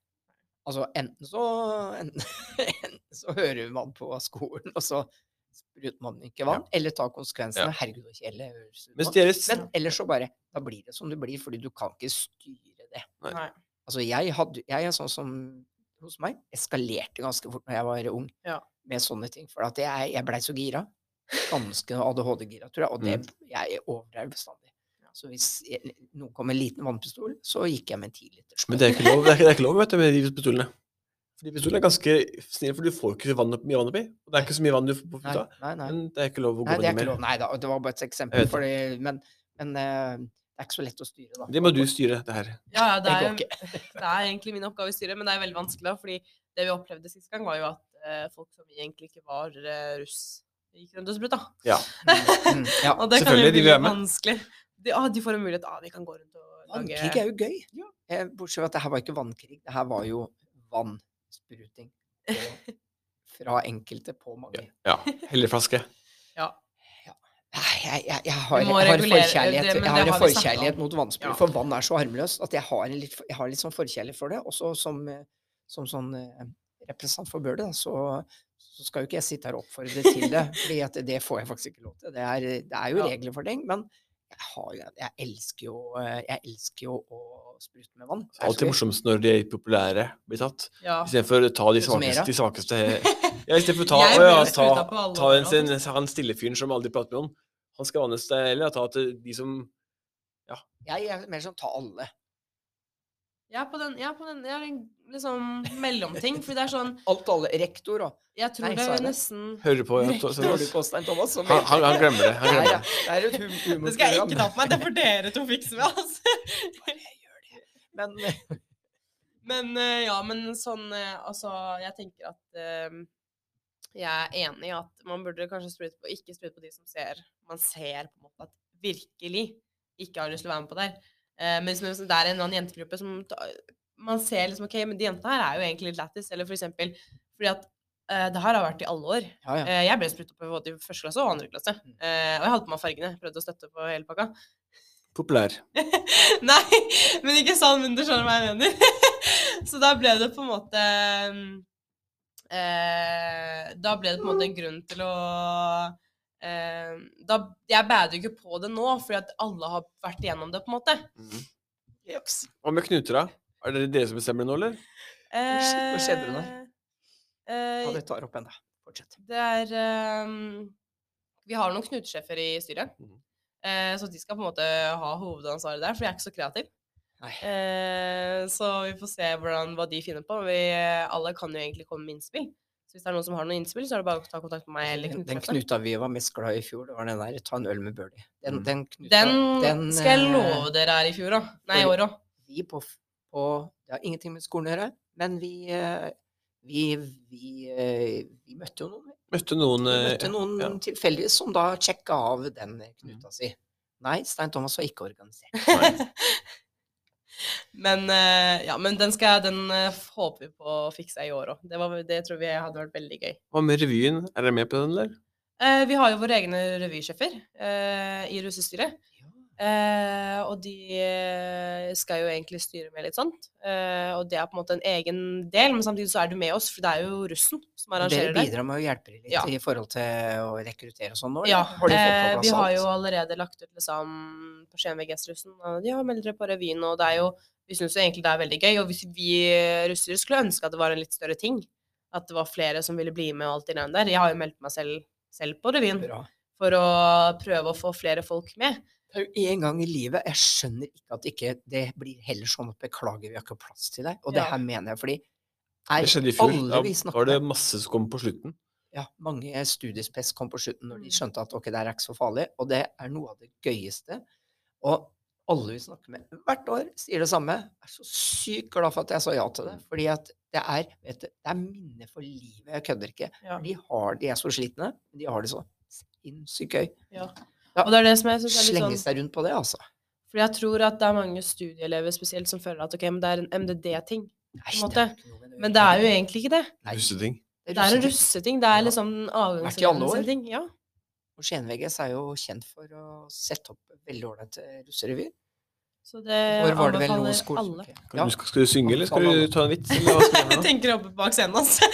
Altså, enten så, enten, enten så hører man på skolen, og så spruter man ikke vann, eller tar konsekvensene. Herregud, så kjedelig. høres det ut mens som. deres Men ellers så bare Da blir det som det blir, fordi du kan ikke styre det. Nei. Nei. Altså, jeg, hadde, jeg er sånn som hos meg eskalerte ganske fort når jeg var ung Ja. med sånne ting. For at jeg, jeg blei så gira. Ganske ADHD-gira, tror jeg. Og det, Mm. jeg overdrev bestandig. Så hvis jeg, noen kom med en liten vannpistol, så gikk jeg med en tiliters. Men det er ikke lov, det er ikke, det er ikke lov vet du, med de pistolene. Fordi pistolen er ganske snill, for du får ikke vann opp, mye vann oppi. Og det er ikke så mye vann du får på Nei, puta. nei, nei. Men det er ikke lov å gå Nei, det er inn ikke i mer. lov. Nei da, det var bare et eksempel. Jeg vet det. Fordi, men men eh, det er ikke så lett å styre, da. Det må du styre, det her. Ja, ja, det Det er, går ikke. det er egentlig min oppgave i styret, men det er veldig vanskelig. da, fordi det vi opplevde sist gang, var jo at eh, folk som egentlig ikke var eh, russ, gikk rundt og spruta. Mm, mm, ja. Og det kan jo Selvfølgelig, de bli vil være litt med. vanskelig. De, ah, de får en mulighet. Ah, vi kan gå rundt og Vannkrig lage er jo gøy. Eh, Bortsett fra at det her var ikke vannkrig. Det her var jo vannspruting. på- Fra enkelte på mange. Ja. Helleflaske. ja. Nei, Jeg, jeg, jeg har, Du må jeg har regulere det, forkjærlighet, men jeg det har en har vi snakket forkjærlighet om. mot vannsprit, Ja. for vann er så harmløst at jeg har, en litt, jeg har litt sånn forkjærlighet for det. Også som, eh, som sånn eh, representant for Bøhler, da, så, så skal jo ikke jeg sitte her og oppfordre til det, fordi at det får jeg faktisk ikke lov til. Det er, det er jo Ja. regler for ting, men jeg, har, jo- jeg elsker jo eh, jeg elsker jo å sprute med vann. Det er så Alltid gøy. morsomst når de populære blir tatt. ja. Istedenfor å ta de Sånn som svakeste, Era. de svakeste Ja, istedenfor å ta, Jeg å, ja, ble ta, spruta på alle ta en, områder, sin, altså. han stille fyren som aldri prater med noen. Han skal vannes deg, eller ta til de som Jeg er mer sånn ta alle. Jeg er på den, jeg er på den jeg er en liksom mellomting. Fordi det er sånn Alt alle. Rektor og Jeg tror Nei, det sa jeg er det? nesten hører på. Ja, ta, Rektor, har du på Stein Thomas? som han, vet- han, han glemmer det. Han Nei, glemmer ja, det. det er et hum humorprogram. Det skal jeg ikke ta på meg. Det får dere to fikse med. Altså. Men eh, Men eh, ja, men sånn eh, Altså, jeg tenker at eh, jeg er enig i at man burde kanskje sprute på, ikke sprute på de som ser Man ser på en måte at virkelig ikke har lyst til å være med på det her. Eh, men hvis man- hvis det er en eller annen jentegruppe som ta- Man ser liksom OK, men de jentene her er jo egentlig litt lættis. Eller for eksempel fordi at eh, det her har vært i alle år. ja, ja. Eh, Jeg ble spruta på både i første klasse og andre klasse. Mm. Eh, Og jeg hadde på meg fargene. Prøvde å støtte på hele pakka. Populær. Nei, men ikke sånn, men du skjønner hva jeg mener. så da ble det på en måte mm, eh, Da ble det på en måte en grunn til å eh, da, Jeg bærer jo ikke på det nå, fordi at alle har vært igjennom det, på en måte. Mm. Hva med knuter, da? Er det dere som bestemmer det nå, eller? shit, hva skjedde Eh, Ja, det tar opp ennå. Fortsett. Det er ehm, Vi har noen knutesjefer i styret. Mhm. eh, så de skal på en måte ha hovedansvaret der, for jeg er ikke så kreativ. Nei. Eh, så vi får se hvordan, hva de finner på. Vi, alle kan jo egentlig komme med innspill. Så hvis det er noen som har noen innspill, så er det bare å ta kontakt med meg eller Den, den knutesjefen. knuta vi var mest glad i i fjor, det var den der 'ta en øl med Birdie'. Den, Mm. den knuta Den, den, skal jeg eh, love dere er i fjor òg. Nei, i for- år òg. Vi på, f- på Det har ingenting med skolen å gjøre, men vi eh, vi, vi, eh, vi møtte jo noen, Møtte noen vi eh, møtte noen ja. Mm. tilfeldigvis som da sjekka av den knuta si. Nei, Stein Thomas var ikke organisert. Men, eh, ja, men den, skal, jeg- den eh, håper vi på å fikse i år òg. Det, var- det tror vi hadde vært veldig gøy. Hva med revyen? Er dere med på den, eller? Eh, vi har jo våre egne revysjefer eh, i russestyret. Eh, og de eh, skal jo egentlig styre med litt sånt. Eh, og det er på en måte en egen del, men samtidig så er du med oss, for det er jo russen som Men Dere arrangerer det. bidrar med å hjelpe dem litt Ja. i forhold til å rekruttere og sånn nå? eller? Ja, Har de fått eh, på vi plass har alt? jo allerede lagt ut liksom, på Skien VGS-russen og ja, meld dere på revyen. Og det er jo, vi syns jo egentlig det er veldig gøy. Og hvis vi eh, russere skulle ønske at det var en litt større ting, at det var flere som ville bli med og alt det der. Jeg har jo meldt meg selv, selv på revyen Bra. for å prøve å få flere folk med. Det er jo én gang i livet. Jeg skjønner ikke at ikke det blir heller sånn at beklager, vi har ikke plass til deg. Og det Ja. her mener jeg fordi Det skjedde i er fjor. alle Da vi var snakker det med masse som kom på slutten. ja, Mange studiespess kom på slutten når Mm. de skjønte at ok, det her er ikke så farlig. Og det er noe av det gøyeste. Og alle vi snakker med hvert år, sier det samme. Jeg er så sykt glad for at jeg sa ja til det. Fordi at det er, vet du, det er minner for livet. Jeg kødder ikke. Ja. De, har, de er så slitne, men de har det så sinnssykt gøy. Og det er det som jeg synes er litt Slenge sånn seg rundt på det, altså. For jeg tror at det er mange studieelever spesielt som føler at ok, men det er en MDD-ting. Nei, en det er måte. ikke noe med Men det er jo egentlig ikke det. Nei. Russeting. Det er en russetid. russeting. Det er Ja. liksom Vært i alle år. avgangsrevyen ting. Ja. Og Skien VGS er jo kjent for å sette opp veldig ålreite russerevyer. Så det Hvor var det vel noe Eh, anbefaler alle. skoleuke? Kan du- Skal du synge, eller skal Anbefaler du alle. ta en vits? Eller hva skal du Jeg gjøre nå? tenker oppe bak scenen hans. Der.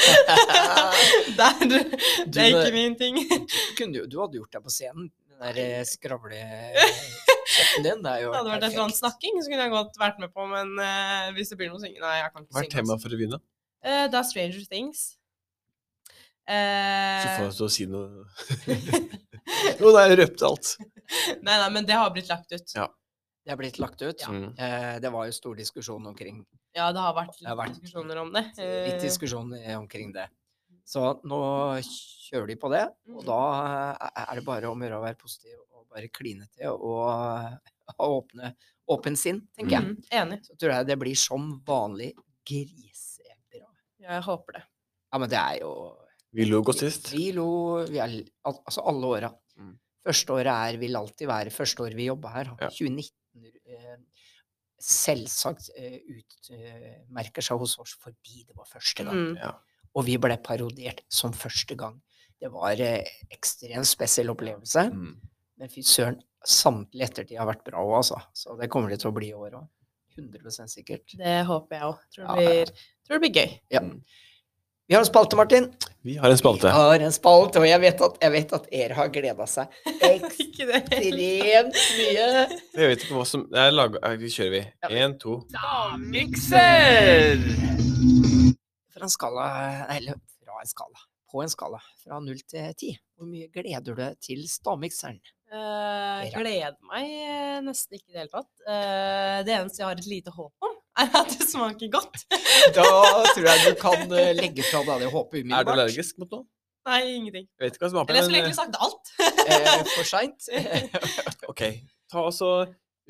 Det er Du, ikke min ting. Du, kunne jo, du hadde gjort deg på scenen. Den der eh, skravlekjeppen din. Det er jo Det hadde vært et eller annet perfekt. snakking, så kunne jeg godt vært med på, men eh, hvis det blir noe synging Nei, jeg kan ikke Hva er synge. altså. temaet for revyen, da? Eh, det er Stranger Things. Så Eh, får jeg til å si noe Eh. Jo, da, jeg røpte alt. nei, nei, men det har blitt lagt ut. Ja. Det er blitt lagt ut. Mm. Eh, Det var jo stor diskusjon omkring Ja, det har vært Det har vært litt diskusjoner om det. Eh, Litt diskusjon eh, omkring det. Så nå kjører de på det, og Mm. da eh, er det bare om å gjøre å være positiv og bare kline til og eh, ha åpne, åpen sinn, tenker jeg. Mm, enig. Så tror jeg det blir som vanlig grisebra. Jeg håper det. Ja, men det er jo Vi lo godt sist. Vi lo vi er, al- Altså alle åra. Mm. Første året er, vil alltid være første året vi jobba her. Ja. 2019 eh, selvsagt eh, utmerker seg hos oss fordi det var første gang. Mm. Ja. Og vi ble parodiert som første gang. Det var eh, ekstremt spesiell opplevelse. Mm. Men fy søren, samtlige ettertid har vært bra òg, altså. Så det kommer det til å bli i år òg. 100 sikkert. Det håper jeg òg. Tror, det Ja, ja. blir- tror det blir gøy. Ja. Vi har en spalte, Martin. Vi har en spalte. Vi har en spalte, og jeg vet at, jeg vet at dere har gleda seg Ikke det. ekstremt mye. Jeg vet ikke hva som Nei, lag... eh, vi kjører, Ja. vi. Én, to. Mikser! Fra en skala, eller fra en skala, på en skala, fra null til ti, hvor mye gleder du deg til stavmikseren? Eh, Ja. gleder meg eh, nesten ikke i det hele tatt. Eh, det eneste jeg har et lite håp om, er at det smaker godt. Da tror jeg du kan eh, legge fra deg det håpet Er du umiddelbart. allergisk mot noe? Nei, ingenting. Jeg vet ikke hva som Eller smaker, jeg skulle egentlig men sagt alt. Eh, for seint. eh, OK. Ta og så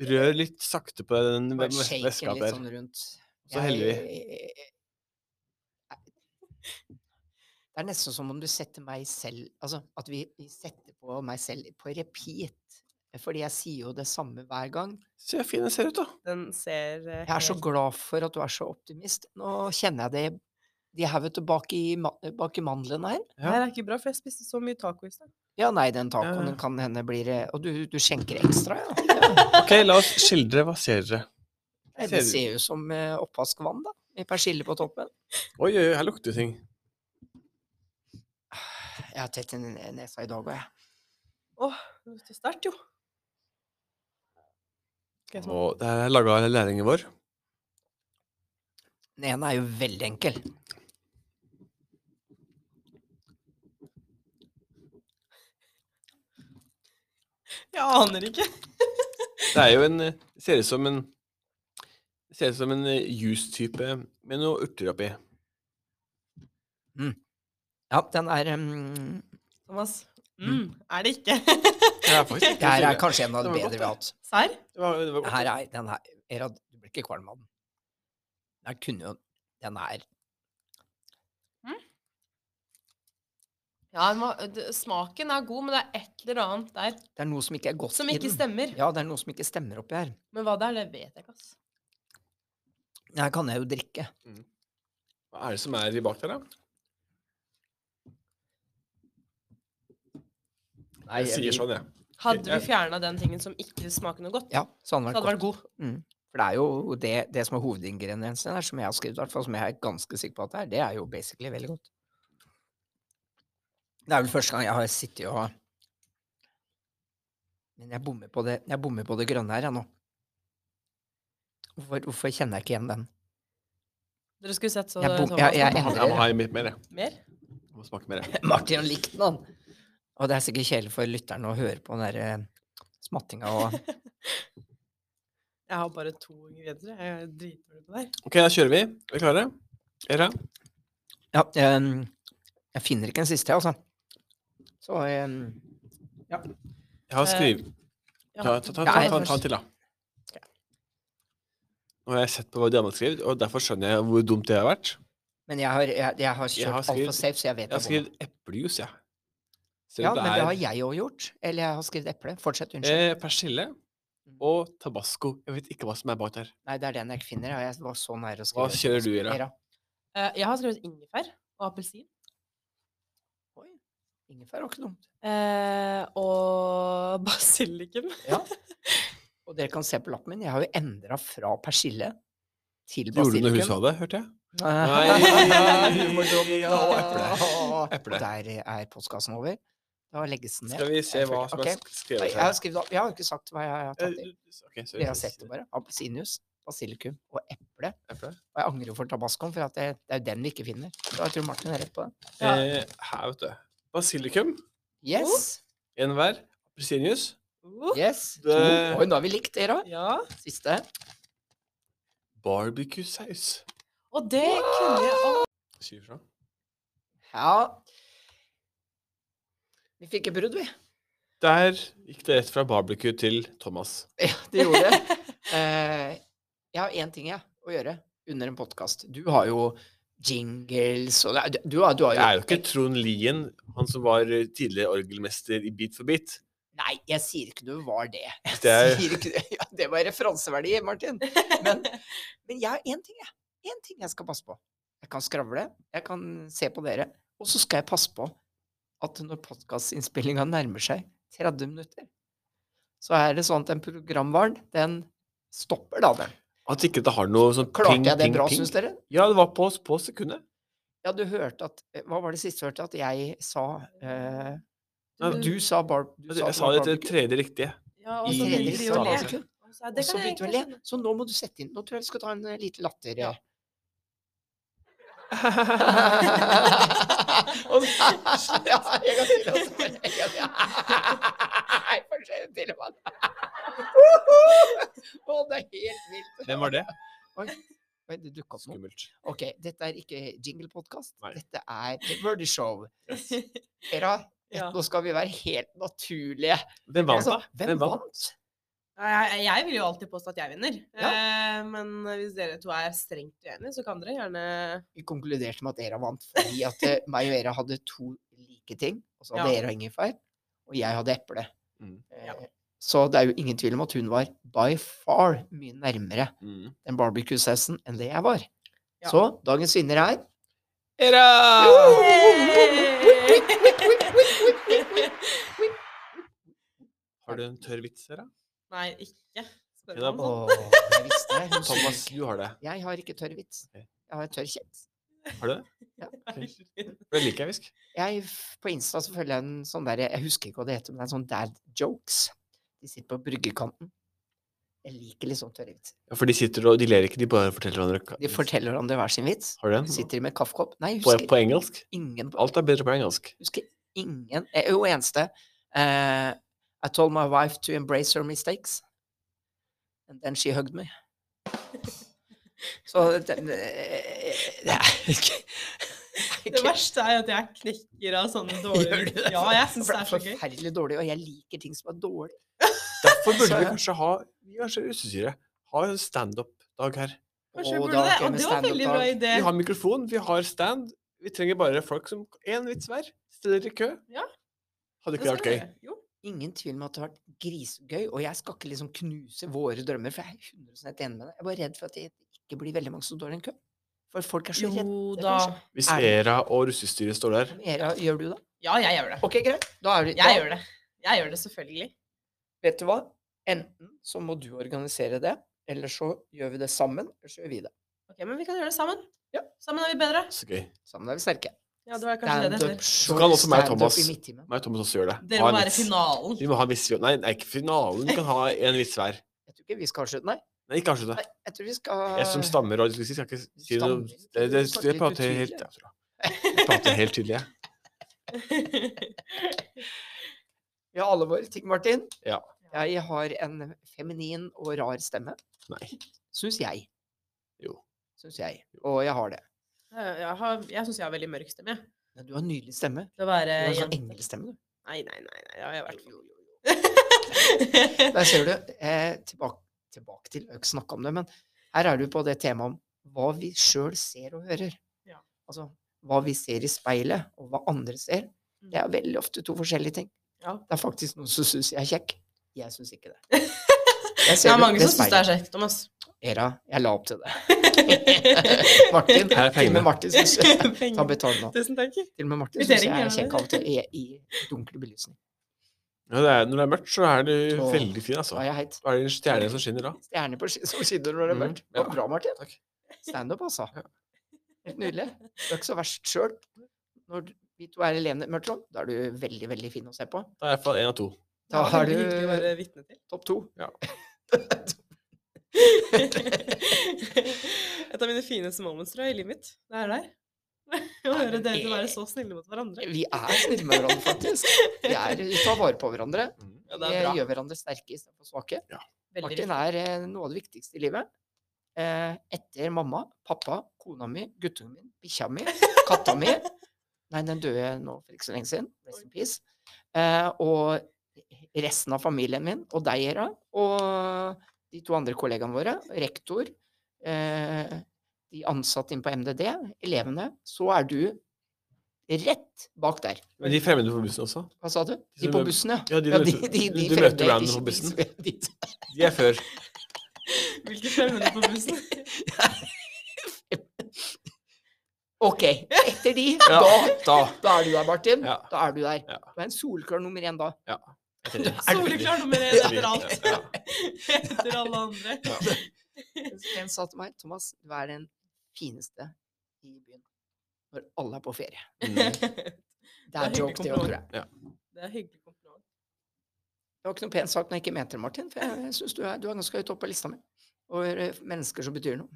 Rør litt sakte på den ve- Bare ve- shake litt veska der. sånn rundt. Så heller vi. Jeg- eh, Det er nesten som om du setter meg selv Altså at vi vi setter på meg selv på repeat. Fordi jeg sier jo det samme hver gang. Se hvor fin den ser ut, da. Den ser eh, Jeg er så helt- glad for at du er så optimist. Nå kjenner jeg det De her, vet du, bak i, ma- bak i mandlene her. Ja. Nei, det er ikke bra, for jeg spiste så mye taco i stad. Ja, nei, den Ja, tacoen ja. den kan hende blir eh, Og du, du skjenker ekstra, ja? OK, la oss skildre. Hva ser dere? Nei, Ser Det du- ser jo ut som eh, oppvaskvann, da. Med persille på toppen. Oi, oi, oi, her lukter det ting. Jeg har tett i n- nesa i dag òg, jeg. Det lukter sterkt, jo. Skal jeg smake? Og det her er laga av lærlingen vår. Den ene er jo veldig enkel. Jeg aner ikke. Det er jo en eh, Ser ut som en Ser ut som en eh, juice-type med noe urter oppi. Ja, den er um, Thomas. Mm. Mm, er det ikke? Det er faktisk Det her ikke er kanskje en av de Den var bedre godt, vi har hatt. Serr? Det var, det var godt. Her er den her Erad, du blir ikke kvalm av den. Den kunne jo Den er Ja, den var- d- smaken er god, men det er et eller annet der Det er noe som ikke er godt som i ikke den. stemmer. Ja, det er noe som ikke stemmer oppi her. Men hva det er, det vet jeg ikke, ass. Den her kan jeg jo drikke. Hva er det som er i bak der, da? Nei, Jeg sier sånn, jeg. Hadde Jeg- vi fjerna den tingen som ikke smaker noe godt, Ja, så hadde så den hadde det vært godt. vært god. Mm. For det er jo det, det som er hovedingrediensen her, som jeg har skrevet, i hvert fall som jeg er ganske sikker på at det er, det er jo basically veldig godt. Det er vel første gang jeg har sittet og Men jeg bommer på det, jeg bommer på det grønne her, jeg nå. Hvorfor, hvorfor kjenner jeg ikke igjen den? Dere skulle sett så Jeg bom- Thomas jeg- jeg var sånn på endrer Jeg det. må ha i mitt mer, jeg. banen. Mer? Jeg Må smake mer, jeg. Martin har likt den, han. Og det er sikkert kjedelig for lytterne å høre på den der eh, smattinga og Jeg har bare to ingredienser. Jeg er dritdårlig på det her. OK, da kjører vi. Er vi klare? Era? Ja, em, jeg finner ikke en siste, altså. Så ehm, em, Jeg har Eh, skriv... ja. Ta, ta, ta, ta, Ja, jeg- ta, ta en til, da. Nå har jeg sett på hva de andre har skrevet, og derfor skjønner jeg hvor dumt det har vært. Men jeg har, jeg, jeg har Jeg har kjørt altfor skrevet- safe, så jeg vet Jeg har det er bomma. skrevet eplejus, jeg. Ser du, Ja, men det er- har jeg òg gjort. Eller jeg har skrevet eple. Fortsett, unnskyld. Mm. Eh, persille og tabasco. Jeg vet ikke hva som er bak der. Nei, det er den jeg ikke finner. ja, Jeg var så nær å Hva skrive. kjører du, Ira? Era. Eh, Jeg har skrevet ingefær og appelsin. Oi, ingefær var ikke dumt. eh, Og basilikum. Ja. Og dere kan se på lappen min, jeg har jo endra fra persille til Gjorde du når hun basilikum. sa det, hørte jeg? Nei, ja, og eple. Eple. Der er postkassen over. Da legges den ned. Skal vi se Jeg hva føler- som ok. er Nei, skrevet Jeg har, her. skrevet, jeg har jo ikke sagt hva jeg har tatt i. Eh, ok, sorry. Dere har sett det bare. Appelsinjuice, basilikum og eple. Eple. Og jeg angrer jo for tabascoen, for at det, det er jo den vi ikke finner. Så jeg tror Martin er rett på det. Ja. Eh, her, vet du. Basilikum, Yes! en hver. Appelsinjuice. Uh, yes. Det- Oi, nå har vi likt dere òg. Ja. Siste. barbecue-saus. Og det kunne jeg å, Si ifra. Ja Vi fikk et brudd, vi. Der gikk det rett fra barbecue til Thomas. Ja, det gjorde det. Eh, jeg har én ting jeg, å gjøre under en podkast. Du har jo jingles og det er- du, har- du har Det jo er jo ikke Trond Lien, han som var eh, tidligere orgelmester i Beat for beat. Nei, jeg sier ikke du var det. Jeg Det er- sier ikke det. Ja, det var referanseverdi, Martin. Men, men jeg har én ting, jeg. Én ting jeg skal passe på. Jeg kan skravle, jeg kan se på dere. Og så skal jeg passe på at når podkastinnspillinga nærmer seg 30 minutter, så er det sånn at den programvaren, den stopper da, den. At ikke det har noe sånn Klarte ping, jeg det ping, bra, ping. syns dere? Ja, det var på, på sekundet. Ja, du hørte at eh, Hva var det siste du hørte? At jeg sa eh, Nei, Du sa bar... Du Jeg det sa var det til barbecue. tredje riktige. ja, og I- så Tredje begynte vi å sal, le. altså. Og så, Og så begynte vi å le. Så nå må du sette inn Nå tror jeg du skal ta en eh, liten latter. Ja. eh. Og så- Ja, en gang til, altså. En gang til. Nei, for sent til, mann. Å, det er helt vilt. Hvem var det? Oi, det dukket opp noe. Skummelt. Ok, dette er ikke jinglepodkast. Nei. Dette er The Wordy Show. Era, Ja. nå skal vi være helt naturlige. Hvem vant, Altså, da? hvem vant? vant? Jeg, jeg vil jo alltid påstå at jeg vinner. Eh, men hvis dere to er strengt uenige, så kan dere gjerne Vi konkluderte med at Era vant fordi at eh, meg og Era hadde to like ting. Og så hadde Ja. Era ingefær, og jeg hadde eple. Mm. Eh, Ja. Så det er jo ingen tvil om at hun var by far mye nærmere Mm. den barbecue-sausen enn det jeg var. Ja. Ah. Så dagens vinner er Era! Har du en tørr vits her, da? Nei, ikke. Spør Den er om på- sånn. Åh, jeg visste det. Hun Thomas, suger. du har det. Jeg har ikke tørr vits. Ok. Jeg har tørr kjeks. Har du det? For det liker jeg hvisk. Jeg, f- på Insta så følger jeg en sånn der Jeg husker ikke hva det heter, men det er en sånn dad jokes. De sitter på bryggekanten. Jeg liker litt sånn tørre vitser. Ja, for de sitter og de ler ikke, de bare forteller hverandre ka- De forteller hverandre hver sin vits. Har du den? Sitter de med kaffekopp? Nei, jeg På, husker på engelsk? ingen på Alt er bedre på engelsk. husker ingen eh, Jo, eneste. eh, I told my wife to embrace her mistakes. And then she hugged me. Så den, eh, Det er ikke Det verste er jo at jeg knekker av sånne Gjør dårlige du det? Ja, jeg syns det er så gøy. Forferdelig dårlig, og jeg liker ting som er dårlig. Derfor burde Så- vi kanskje ha vi kanskje russesyre. Ha en standup-dag her. Kanskje Å, jeg da burde det. kommer Og det var veldig bra standup-dag. idé. Vi har mikrofon, vi har stand. Vi trenger bare folk som én vits hver stiller i kø. Ja. Hadde ikke Det det vært skal gøy? dere. Jo. Ingen tvil om at det har vært grisegøy, og jeg skal ikke liksom knuse våre drømmer, for jeg er 100 enig med deg. Jeg er bare redd for at det ikke blir veldig mange som står i en kø. For folk er så redde. Jo Det da. kanskje- Hvis Er det- Era og russestyret står der Era, gjør du det? Ja, jeg gjør det. Ok, greit. Da er det, da, Jeg gjør det. Jeg gjør det selvfølgelig. Vet du hva? Enten så må du organisere det, eller så gjør vi det sammen, eller så gjør vi det. Ok, Men vi kan gjøre det sammen. Ja. Sammen er vi bedre. Så gøy. Sammen er vi sterke. Ja, det var kanskje det det heter. show, Så kan også meg og stand-up Thomas- i midttimen. Meg og Thomas også gjør det. Dere Ha må en være vits. finalen. Vi må ha en vits. Nei, nei, ikke finalen. Vi kan ha en vits hver. Jeg tror ikke vi skal avslutte, nei. Nei, ikke avslutt det. nei. Jeg tror vi skal Jeg som stammer og dysleksi skal ikke si noe Stammer. Det, det, Du snakker det litt prater jeg helt utydelig. ja, tror jeg. Jeg prater helt tydelig, jeg. Vi har alle våre ting, Martin. Ja. Jeg har en feminin og rar stemme, Nei. syns jeg. Jo. Syns jeg. Og jeg har det. Jeg, har- jeg syns jeg har veldig mørk stemme. jeg. Men du har en nydelig stemme. Det å være Du har en sånn jente. englestemme, du. Nei, nei, nei. nei, det har jeg i hvert fall. Der ser du. Eh, tilbake, tilbake til, vi har ikke snakka om det, men her er du på det temaet om hva vi sjøl ser og hører. Ja. Altså hva vi ser i speilet, og hva andre ser. Det er veldig ofte to forskjellige ting. Ja. Det er faktisk noen som syns jeg er kjekk. Jeg syns ikke det. Jeg Det ser er mange ved som syns det er speilet. kjekt, Thomas. Era, jeg la opp til det. Martin, til Her er og pengene. med Martin syns jeg Ta Penger. betalt nå. Tusen takk. Til og med Martin syns Kvittering, jeg er gjerne. kjekk av og til i, i dunkel belysning. Ja, det er, når det er mørkt, så er det Åh. veldig fin, Da altså. er jeg heit. Da er det en stjerne som skinner da. Stjerne på sk- som skinner når det er Mhm, mørkt. Det var ja. Bra, Martin. Takk. Standup, altså. Helt nydelig. Du er ikke så verst sjøl. Når du- vi to er alene, Mørtland, da er du veldig, veldig fin å se på. Da er jeg i hvert fall én av to. Da Det var har veldig hyggelig å du være vitne til. topp to. Ja. Et av mine fineste moments tror jeg, i livet mitt. Det er der. Å høre dere til å være så snille mot hverandre. Vi er snille med hverandre, faktisk. Vi, er, vi tar vare på hverandre. Ja, Vi det er bra. gjør hverandre sterke istedenfor svake. Veldig Martin er eh, noe av det viktigste i livet. eh, etter mamma, pappa, kona mi, guttungen min, bikkja mi, katta mi Nei, den døde nå for ikke så lenge siden. Rest in peace. Eh, og resten av familien min, og deg, Hera, og de to andre kollegaene våre, rektor, eh, de ansatte inne på MDD, elevene, så er du rett bak der. Men de fremmede på bussen også? Hva sa du? De som på mø- bussen, ja. Ja, de ja de, møter- de, de du møter fremmede, hverandre de- på bussen. de- de- De er før. Hvilke fremmede på bussen? Ok, etter de, Ja, da, da. da er du der, Martin. Ja. Da er du der. Ja. Du er en solklar nummer én da. Etter det. Soleklar nummer én etter Ja. alt. Etter alle andre. Ja. En sa til meg, Thomas, du er den fineste i byen når alle er på ferie. Mm. Det er Det joke, det er hyggelig òg, tror jeg. Det er hyggelig kompliment. Det var ikke noe pen sak når jeg ikke mente det, Martin, for jeg syns du, er- du er ganske høyt oppe på lista mi over eh, mennesker som betyr noe.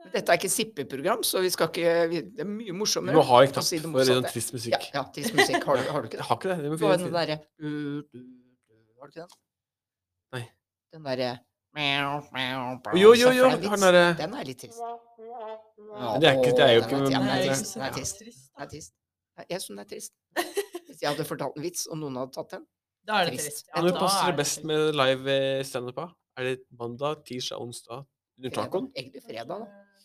Men Dette er ikke et sippeprogram, så vi skal ikke vi, Det er mye Vi må morsommere. ha en å knapp si det for sånn motsatte. trist Ja, musikk. ja tiss musikk. Har, du- har du ikke Jeg det? har ikke det. Det må Du har den finnes. sånn derre du- du- du- Har du ikke den? Nei. Den derre Jo, jo, jo. du har den derre Den er litt trist. Ja. det er ikke- det er jo Åh, ikke- den Den ja, er den er ikke trist. Den så er trist. trist. Den er trist. Jeg- Jeg syns den er trist. Hvis jeg hadde fortalt en vits, og noen hadde tatt den Da er det Trist. trist. Ja, Når da passer er det best med live eh, standup? da? Er det mandag, tirsdag, onsdag? Under tacoen? Egentlig fredag, da.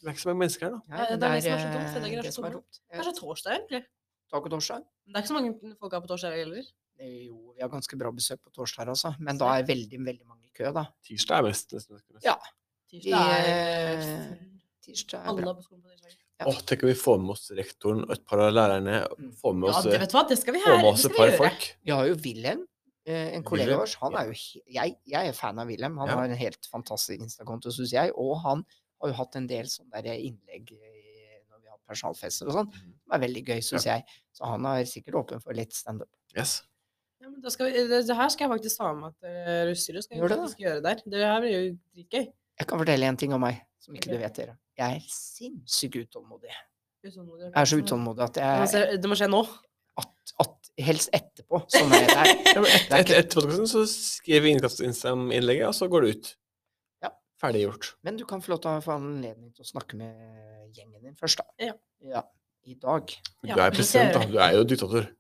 Det er ikke så mange mennesker her, da. Ja, Nei, men Eh, det er det som er så eh, dumt. Fredager er det så som er dumme. dumt. Kanskje torsdag, egentlig. Taco torsdag. Men Det er ikke så mange folk her på torsdag heller. Eh, Jo, vi har ganske bra besøk på torsdag her, altså. Men da er veldig, veldig mange i kø, da. Tirsdag er best. nesten. Ja. Tirsdag er Eh, full. Tirsdag er Alle bra. er på skolen på tirsdag. Ja. Åh, tenk om vi får med oss rektoren og et par av lærerne. Mm. Får med Ja, oss, eh, det vet du hva, det skal vi får her. med Det oss et skal par vi gjøre. folk. Vi har jo Wilhelm, eh, en kollega Wilhelm? av oss. Han er jo he jeg, jeg er fan av Wilhelm. Han Ja. har en helt fantastisk Insta-konto, syns jeg. Og han har jo hatt en del sånne der eh, innlegg i- når vi har hatt personalfester og sånn. Mhm. Det er veldig gøy, syns jeg. Så han er sikkert åpen for litt standup. Yes. Ja, men da skal vi, det, det her skal jeg faktisk ta med meg til Russerud. Skal Gjør jeg det, faktisk gjøre der. Det her blir jo dritgøy. Jeg kan fortelle en ting om meg som ikke du Ok. vet, dere. Jeg er sinnssykt utålmodig. Utålmodig. Jeg er så utålmodig at sånn Det må jeg skje- Det må skje nå. at, at, Helst etterpå. Sånn er jeg. Det er- det er Et, ikke- etter podcasten så skriver vi innkast- Instagram-innlegget, og så går det ut. Ja. Ferdiggjort. Men du kan få lov til å få anledning til å snakke med gjengen din først, da. Ja. ja. I dag. Men Ja, Du det er skal president, jeg da. Du er jo diktator.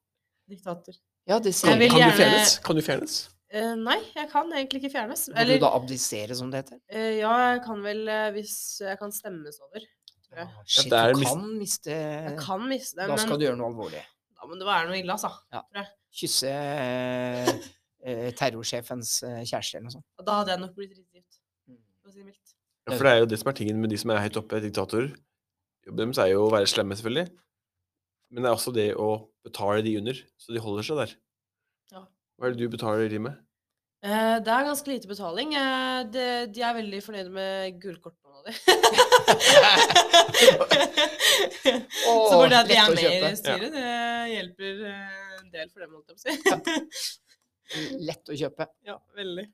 Diktator. Ja, det Kan, ser Jeg vil kan du gjerne- fjernes? Kan du fjernes? Eh, nei, jeg kan egentlig ikke fjernes. Må Eller du da abdisere, som det heter? eh, ja, jeg kan vel eh, hvis jeg kan stemmes over. tror jeg. Å, Shit, det er du mis- kan miste Jeg kan miste det, Eh, Da skal men du gjøre noe alvorlig. da må det være noe ille, altså. Kysse eh, eh, terrorsjefens eh, kjæreste eller noe sånt. Og da hadde jeg nok blitt dritgift, for å si det mildt. Ja, for det er jo det som er tingen med de som er høyt oppe, diktatorer. Jobben deres er jo å være slemme, selvfølgelig. Men det er også det å betale de under, så de holder seg der. Ja. Hva er det du betaler de med? Eh, det er ganske lite betaling. Eh, det, de er veldig fornøyde med gullkortene di. Åh, Så bare det at lett de er å med i kjøpe. styret, det hjelper eh, en del for dem, holdt jeg på å si. Lett å kjøpe. Ja, veldig.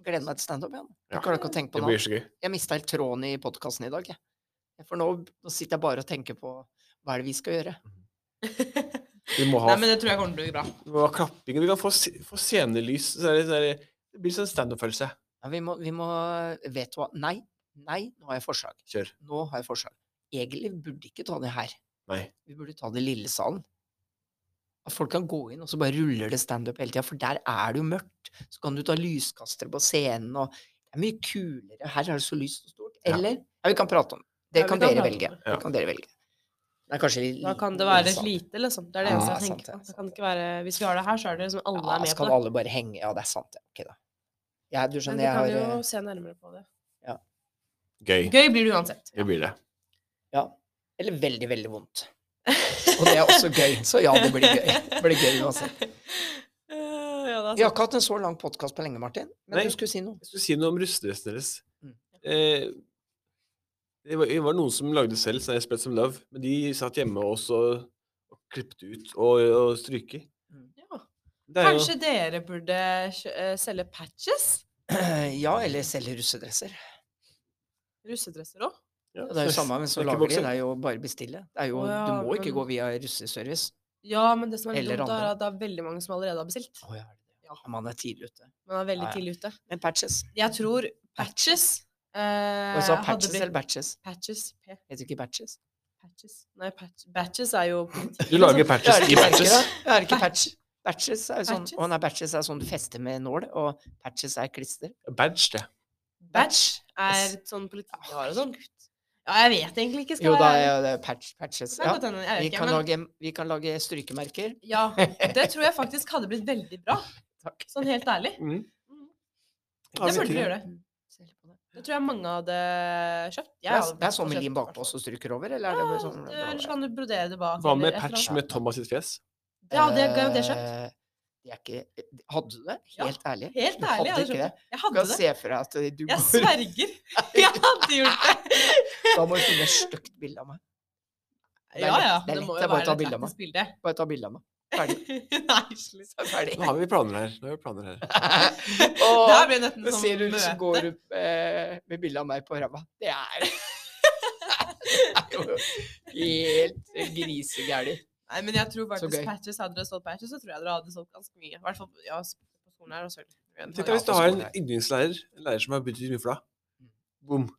Gleder meg til standup igjen. Ja. Jeg klarer ikke å tenke på Det noe. blir så gøy. Jeg mista helt tråden i podkasten i dag, jeg. For nå, nå sitter jeg bare og tenker på hva er det vi skal gjøre? Vi må ha, Nei, men det tror jeg kommer til å bli bra. vi må ha klapping, og vi kan få, se- få scenelys. Så er det, så er det, det blir sånn standup-følelse. Ja, vi, må, vi må Vet du hva? Nei. Nei, nå har jeg forslag. Kjør. Nå har jeg forslag. Egentlig burde vi ikke ta det her. Nei. Vi burde ta det i lille salen. At folk kan gå inn, og så bare ruller det standup hele tida, for der er det jo mørkt. Så kan du ta lyskastere på scenen, og det er mye kulere. Her er det så lyst og stort. Ja. Eller Ja, vi kan prate om det. Det Ja, vi kan kan dere prate om velge. det. Det Ja. kan dere velge. Det er kanskje Da kan det liten være sal. lite, liksom. Det er det Ja, eneste det er jeg sant, det tenker er på. Det kan ikke være, hvis vi har det her, så er det liksom alle Ja, er med så på kan det. alle bare henge Ja, det er sant, ja. Ok, da. Ja, du Men skjønner, vi jeg har kan eh, jo se nærmere på det. Gøy. Gøy blir det uansett. Det blir det. Ja. Eller veldig, veldig vondt. Og det er også gøy. Så ja, det blir gøy. Det blir gøy uansett. Eh, Ja, det er Vi har sant. ikke hatt en så lang podkast på lenge, Martin. Men Nei. du skulle si noe. Jeg skulle si noe om russedressen deres. Mm. Eh, det, var, det var noen som lagde selv, sånn Spread Some Love, men de satt hjemme også og klippte ut og, og stryke. Ja. Det er Kanskje dere burde kjø- eh, selge patches? Ja, eller selge russedresser. Russedresser òg? jo, ja, Det er jo samme, men så snakke lager de. boksing. Det er jo bare bestille. Det er jo, Å ja, du må ikke men- gå via russeservice. Ja, men det som er litt Eller dumt, er andre. at det er veldig mange som allerede har bestilt. Å ja, er det det? Ja, man er tidlig ute. Man er veldig Ja, ja. tidlig ute. Men patches. Jeg tror patches Eh, Og så hadde patches blitt- eller batches? Patches. P. Heter ikke batches? Patches. Nei, patch, batches er jo Du lager patches i batches. Jeg er ikke patch. Batches er jo sånn, Patches? å nei, batches er sånn du fester med nål, og patches er klister. Badge, det. Batch er Yes. Ah, sånn politiet har og sånn. Ja, jeg vet egentlig ikke. Jo, da jeg er det patch, patches. Det Ja. kan godt hende, jeg Vi vet ikke, kan, men lage, vi kan lage strykemerker. ja, det tror jeg faktisk hadde blitt veldig bra. Takk. Sånn helt ærlig. Mm. Det burde vi Ja. gjøre. Det tror jeg mange hadde kjøpt. Det Jeg er, hadde det er sånn med kjøpt lim det, bakpå og stryker over, eller er Ja, det bare sånn? eller så kan du brodere det bak. Hva med eller et eller patch annet. med Thomas sitt fjes? Ja, det ga jo det kjøpt. Eh, Det er ikke, eh, hadde du det? Ja. Helt ærlig? Helt Du ærlig, hadde jeg hadde ikke kjøpt det. Jeg Du hadde kan det. se for deg at du Jeg går sverger. Jeg hadde gjort det. Da må du finne et stygt bilde av meg. Det er Ja, lett, ja. det er Det lett, må det er jo bare å være ta et bilde av lættis bilde. Bare ta bilde av meg. Ferdig. Nei, slutt. Så er jeg Nå har vi planer her. Nå har vi planer her. ferdig. Det her Åh, ble nesten Nå som ser du ut som går sånn møte. opp eh, med bilde av meg på ræva. Det er det er jo helt grisegæli. Nei, men jeg Så tror faktisk gøy. patches hadde dere solgt patches, så tror jeg dere hadde solgt ganske mye. I hvert fall ja, på skolen her og sølv. Tenk deg hvis du har en yndlingslærer, en lærer som har betydd mye for Mm. deg. Bom.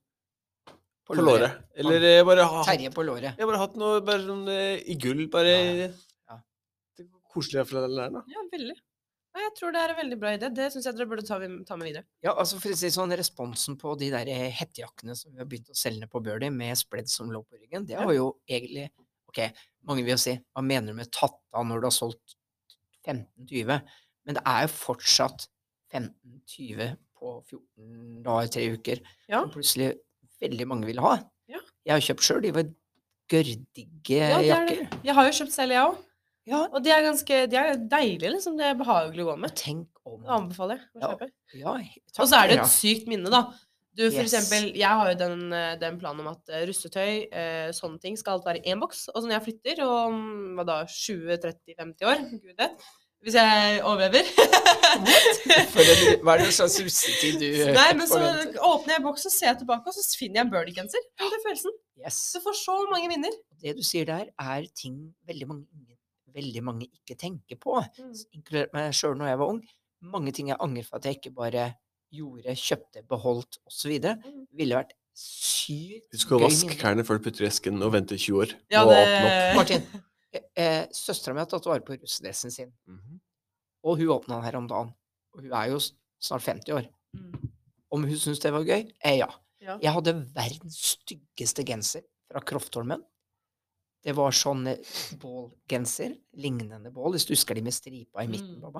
På låret. Eller eh, bare ha Terje på låret. Jeg har bare hatt noe bare sånn eh, i gull, bare Ja, ja. Det er Koselig for den læreren, da. Ja, veldig. Nei, jeg tror det er en veldig bra idé. Det syns jeg dere burde ta, ta med videre. Ja, altså for å si det sånn, Responsen på de der eh, hettejakkene som vi har begynt å selge ned på Birdie, med spledd som lå på ryggen, det Ja. var jo egentlig Ok, mange vil jo si hva mener du med tatt av når du har solgt 15-20? Men det er jo fortsatt 15-20 på 14 dager, tre uker, Ja. som plutselig veldig mange vil ha. Ja. Jeg har kjøpt sjøl, de var gørrdigge Ja, det er jakker. Jeg har jo kjøpt selv, jeg òg. Ja. Og de er ganske de er deilige, liksom. Det er behagelig å gå med. Tenk om Det anbefaler jeg å Ja. kjøpe. Ja, Og så er det takk, et sykt minne, da. Du, for Yes. eksempel, jeg har jo den, eh, den planen om at eh, russetøy, eh, sånne ting, skal alt være i én boks. Og så når jeg flytter om hva da, 20-30-50 år, gud vet, hvis jeg overlever ja. For en- Hva er det slags russetid du eh, Nei, men så forventer? åpner jeg boks og ser jeg tilbake, og så finner jeg en Birdie-genser. Det er følelsen. Yes. Så får så mange minner. det du sier der, er ting veldig mange, veldig mange ikke tenker på, s- inkludert meg sjøl når jeg var ung. Mange ting jeg angrer for at jeg ikke bare gjorde, kjøpte, beholdt osv. Mm. Ville vært sykt Husk å gøy vaske minne. klærne før du putter i esken, og vente 20 år. Ja, og det- åpne opp. Martin, eh, eh, søstera mi har tatt vare på russedressen sin, Mhm. og hun åpna den her om dagen. Og hun er jo s- snart 50 år. Om hun syntes det var gøy? Eh, ja. Ja. Jeg hadde verdens styggeste genser fra Kroftholmen. Det var sånn eh, bålgenser, lignende bål, hvis du husker de med stripa i midten. Mm. Baba.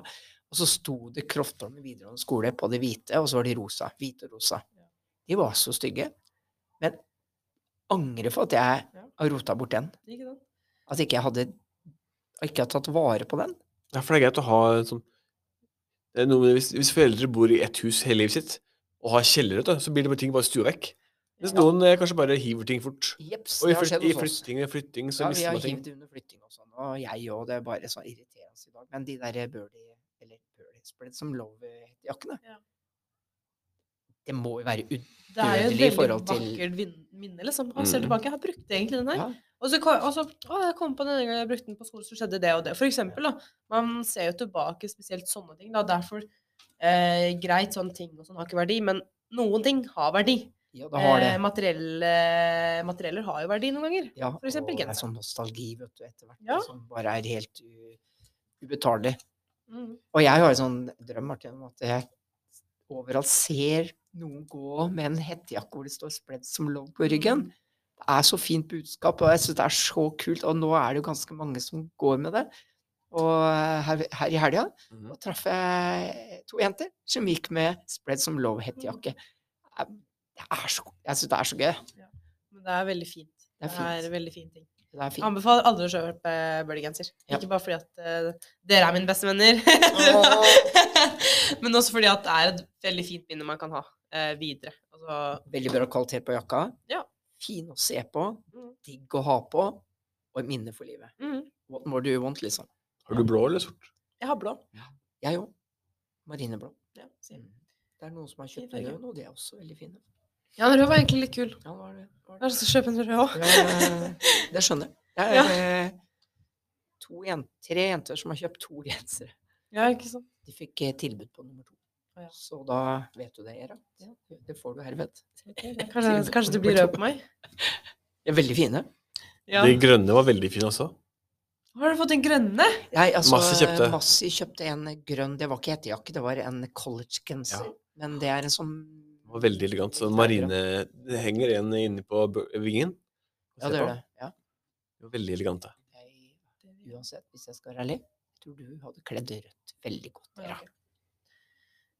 Og så sto det Kroftholmen videregående skole på det hvite, og så var de rosa. Hvite og rosa. De var så stygge. Men angrer for at jeg Ja. har rota bort den. Ikke sant? At ikke jeg hadde ikke har tatt vare på den. Ja, for det er greit å ha en sånn det er noe med, hvis, hvis foreldre bor i ett hus hele livet sitt, og har kjeller, vet du, så blir det bare ting bare stua vekk. Mens Ja. noen eh, kanskje bare hiver ting fort. Jeps, Og i, det har flyt, skjedd i hos oss. flytting og flytting så Ja, vi mister har man ting. hivd under flytting og sånn, og jeg òg. Det er bare så irriterende i dag. Men de der birdie, eller birdie-spread som lå ved jakkene Ja. Det må jo være ut... Det er jo Dødelig i et veldig forhold til- vakkert vin- minne, liksom. Og ser Mm. tilbake, jeg har brukt egentlig den her. Ja. Og så, kom, og så å, jeg kom på denne gangen jeg brukte den på skolen, så skjedde det og det. For eksempel, da. Man ser jo tilbake spesielt sånne ting. da, Derfor eh, greit, sånne ting og sånn har ikke verdi, men noen ting har verdi. ja, det har det. Eh, materielle, materieller har jo verdi noen ganger. Ja, for eksempel og Det er genser. sånn nostalgi vet du, etter hvert, Ja. som bare er helt u... ubetalelig. Mm. Og jeg har en sånn drøm, Martin, om at jeg overalt ser noen gå med en hettejakke hvor det står 'spread som lov' på ryggen. Mm. Det er så fint budskap, og jeg syns det er så kult. Og nå er det jo ganske mange som går med det. Og her, her i helga Mhm. Mm. da traff jeg to jenter som gikk med 'spread som love'-hettejakke. Mm. Det er så, jeg syns det er så gøy. Men det er veldig fint. Det er Det fint. er en veldig fin ting. Det er Jeg fint. anbefaler alle å kjøpe eh, bøllegenser. Ja. Ikke bare fordi at eh, dere er mine bestevenner, men også fordi at det er et veldig fint minne man kan ha eh, videre. Altså, Veldig bra kvalitet på jakka. Ja. Fin å se på, Mm. digg å ha på, og et minne for livet. mm, What more do you want, liksom? Har du blå eller sort? jeg har blå. Jeg òg. Marineblå. Ja, sier jeg. Det er noen som har Fin kjøpt farge. rød nå, de er også veldig fine. ja, den røde var egentlig litt kul. Ja, det var det. det Jeg har var det. lyst til å kjøpe en rød òg. Ja, det skjønner jeg. Det er Ja. eh, to jen tre jenter som har kjøpt to gensere. Ja, ikke sant. De fikk eh, tilbud på nummer to. Ja. Så da vet du det, Era. Ja. Det får du herved. Kanskje, kanskje det blir rød på meg? De er veldig fine. Ja. De grønne var veldig fine også. Har du fått den grønne? Jeg, altså, Massi kjøpte. Massi kjøpte en grønn Det var ikke hettejakke, det var en collegegenser. Ja. Men det er en sånn Det var veldig elegant. Sånn marine Det henger en inne på bø- vingen. Ja, det gjør det. Ja. det var veldig elegant. det. Jeg, uansett, hvis jeg skal være ærlig, tror du hadde kledd rødt veldig godt. Era.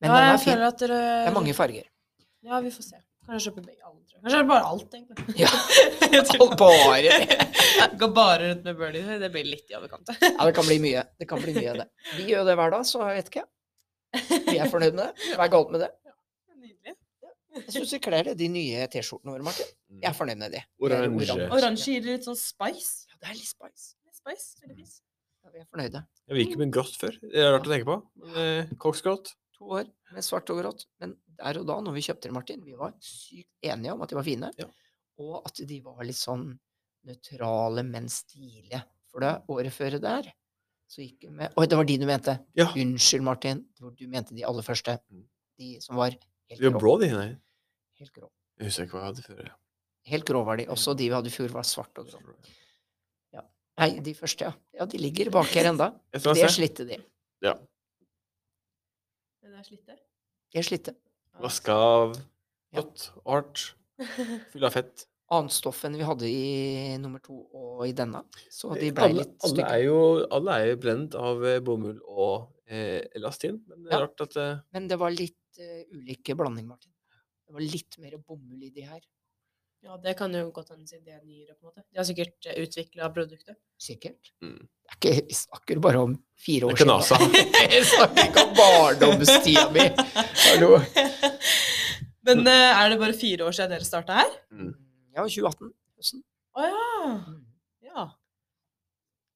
Men ja, den jeg er fin. føler at dere Det er mange farger. Ja, vi får se. Kanskje kjøpe begge alle, tror jeg. Kanskje bare alt, egentlig. Ja. Jeg tror- Bare Gå bare rundt med Bernie. Det blir litt i overkant. Ja, det kan bli mye. Det kan bli mye av det. Vi gjør det hver dag, så jeg vet ikke. Vi er fornøyd med det. Vær galt med det. Nydelig. Jeg syns vi kler det, de nye T-skjortene våre, Martin. Mm. Jeg er fornøyd med de. Det er Oransje. Oransje gir litt sånn spice. Ja, det er litt spice. Litt Spice, veldig fint. Ja, vi er fornøyde. Jeg gikk med grått før. Det er rart å tenke på. Men, eh, Koksgrått. To år med svart og grått. Men der og da, når vi kjøpte dem, Martin, vi var sykt enige om at de var fine, Ja. og at de var litt sånn nøytrale, men stilige. For det året før der, så gikk vi med Oi, det var de du mente. Ja. Unnskyld, Martin. Det var- Du mente de aller første. Mm. De som var helt De var grå. blå, de. Nei. Helt grå. Jeg husker ikke hva jeg hadde før. Helt grå var de. Også de vi hadde i fjor, var svart og grå. Nei, de første, ja. Ja, de ligger bak her enda. Jeg tror Det jeg ser. slitte de. Den er slitt, det. De er slitte. Vaska av Ja. godt, hardt, full av fett. Annet stoff enn vi hadde i nummer to og i denne. Så de blei Eh, Alle, litt alle stygge. er jo alle er jo blend av eh, bomull og eh, elastin, men det er Ja. rart at eh, Men det var litt eh, ulike blanding, Martin. Det var litt mer bomull i de her. Ja, det kan jo godt hende siden de er nyere, på en måte. De har sikkert utvikla produktet. Sikkert. Det Mm. er ikke, vi snakker bare om fire Det år er ikke siden. NASA. Jeg snakker ikke om barndomstida mi. Hallo. Men eh, er det bare fire år siden dere starta her? Mm. Ja, 2018. høsten. Å ja. Mm. ja.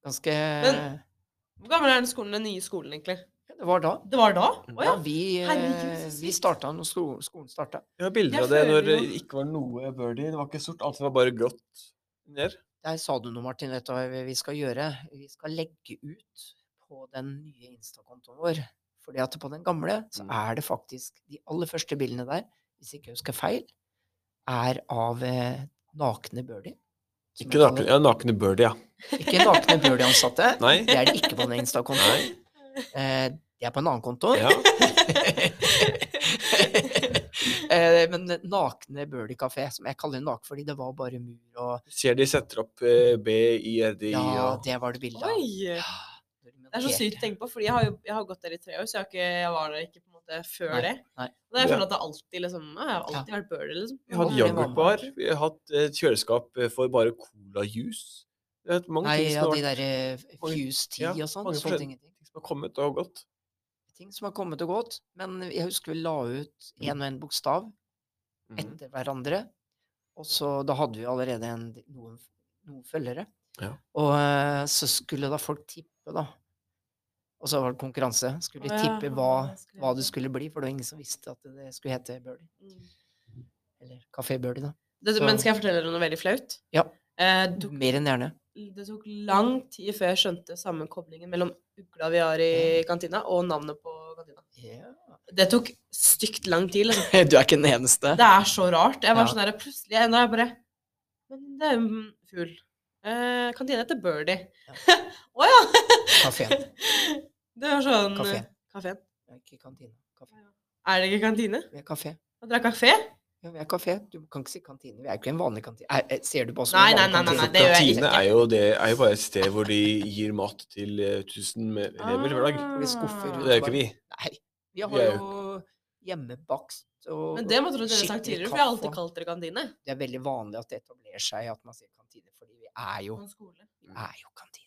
Ganske Men- Hvor gammel er den skolen, den nye skolen, egentlig? Ja, Det var da. Det var da? Å Ja, ja. vi, eh, Herregud, så vi sykt. starta når sko skolen starta. Jeg har bilder Jeg av det når det føler jo- ikke var noe birdie. Det var ikke sort, alt var bare grått ned. Der sa du noe, Martin. Vet du hva vi skal gjøre? Vi skal legge ut på den nye Insta-kontoen vår. Fordi at på den gamle så Mm. er det faktisk de aller første bildene der, hvis ikke jeg husker feil, er av eh, nakne birdie. som Ikke jeg nakne, kaller ja, nakne birdie, ja. det. Ikke nakne birdie-ansatte. Nei. Det er det ikke på den Insta-kontoen. Nei. Eh, det er på en annen konto. Ja. eh, men nakne birdie kafé, som jeg kaller nak fordi det var bare mur og Du ser de setter opp eh, BIRDI Ja, og det var det bildet av. Oi! Det er så sykt å tenke på, fordi jeg har jo jeg har gått der i tre år, så jeg, har ikke, jeg var der ikke på en måte før Nei, det. nei. Og jeg Ja. føler at det alltid liksom, jeg har alltid vært Burley, liksom. Vi har hatt Aldri yoghurtbar. Vi har hatt et kjøleskap eh, for bare cola-juice. Det er mange Nei, ting ja, som de har, vært- der eh, mange- Fuse Tea ja, og sånn. mange Sånne forskjell- ting, ting som har kommet og gått. ting som har kommet og gått. Men jeg husker vi la ut Mm. én og én bokstav Mhm. etter hverandre. Og så da hadde vi allerede en, noen, noen følgere. Ja. Og eh, så skulle da folk tippe, da. Og så var det konkurranse. Skulle de tippe hva, hva det skulle bli, for det var ingen som visste at det skulle hete Birdie. Eller Kafé Birdie, da. Det, Så- Mm. men skal jeg fortelle dere noe veldig flaut? Ja. Eh, det, tok, Mer enn gjerne. det tok lang tid før jeg skjønte sammenkoblingen mellom ugla vi har i kantina, og navnet på kantina. Det tok stygt lang tid, liksom. Du er ikke den eneste. Det er så rart. Jeg var Ja. sånn der plutselig Nå er jeg bare Men det er jo en fugl. Eh, kantina heter Birdie. Å ja! Kafeen. Det var sånn Kafé. Kafeen. Ikke kantine. Kafé. Er det ikke kantine? Vi er kafé. Og dere har kafé? Ja, vi er kafé. Du kan ikke si kantine. Vi er jo ikke en vanlig kantine. Er, er, ser du på oss som Nei, en nei, vanlig nei, nei, kantine? nei, det gjør jeg Kantine ikke. er jo, det, er jo bare et sted hvor de gir mat til eh, 1000 med- elever hver dag. Ah. Vi skuffer Det er jo ikke vi. Nei. Vi Vi har er jo hjemmebakst og Men det må jeg tro dere har sagt skikkelig tidligere, for jeg har kaffe. alltid kalt dere kantine. Det er veldig vanlig at det etablerer seg at man sier kantine, fordi vi er jo, På en skole. vi er jo kantine.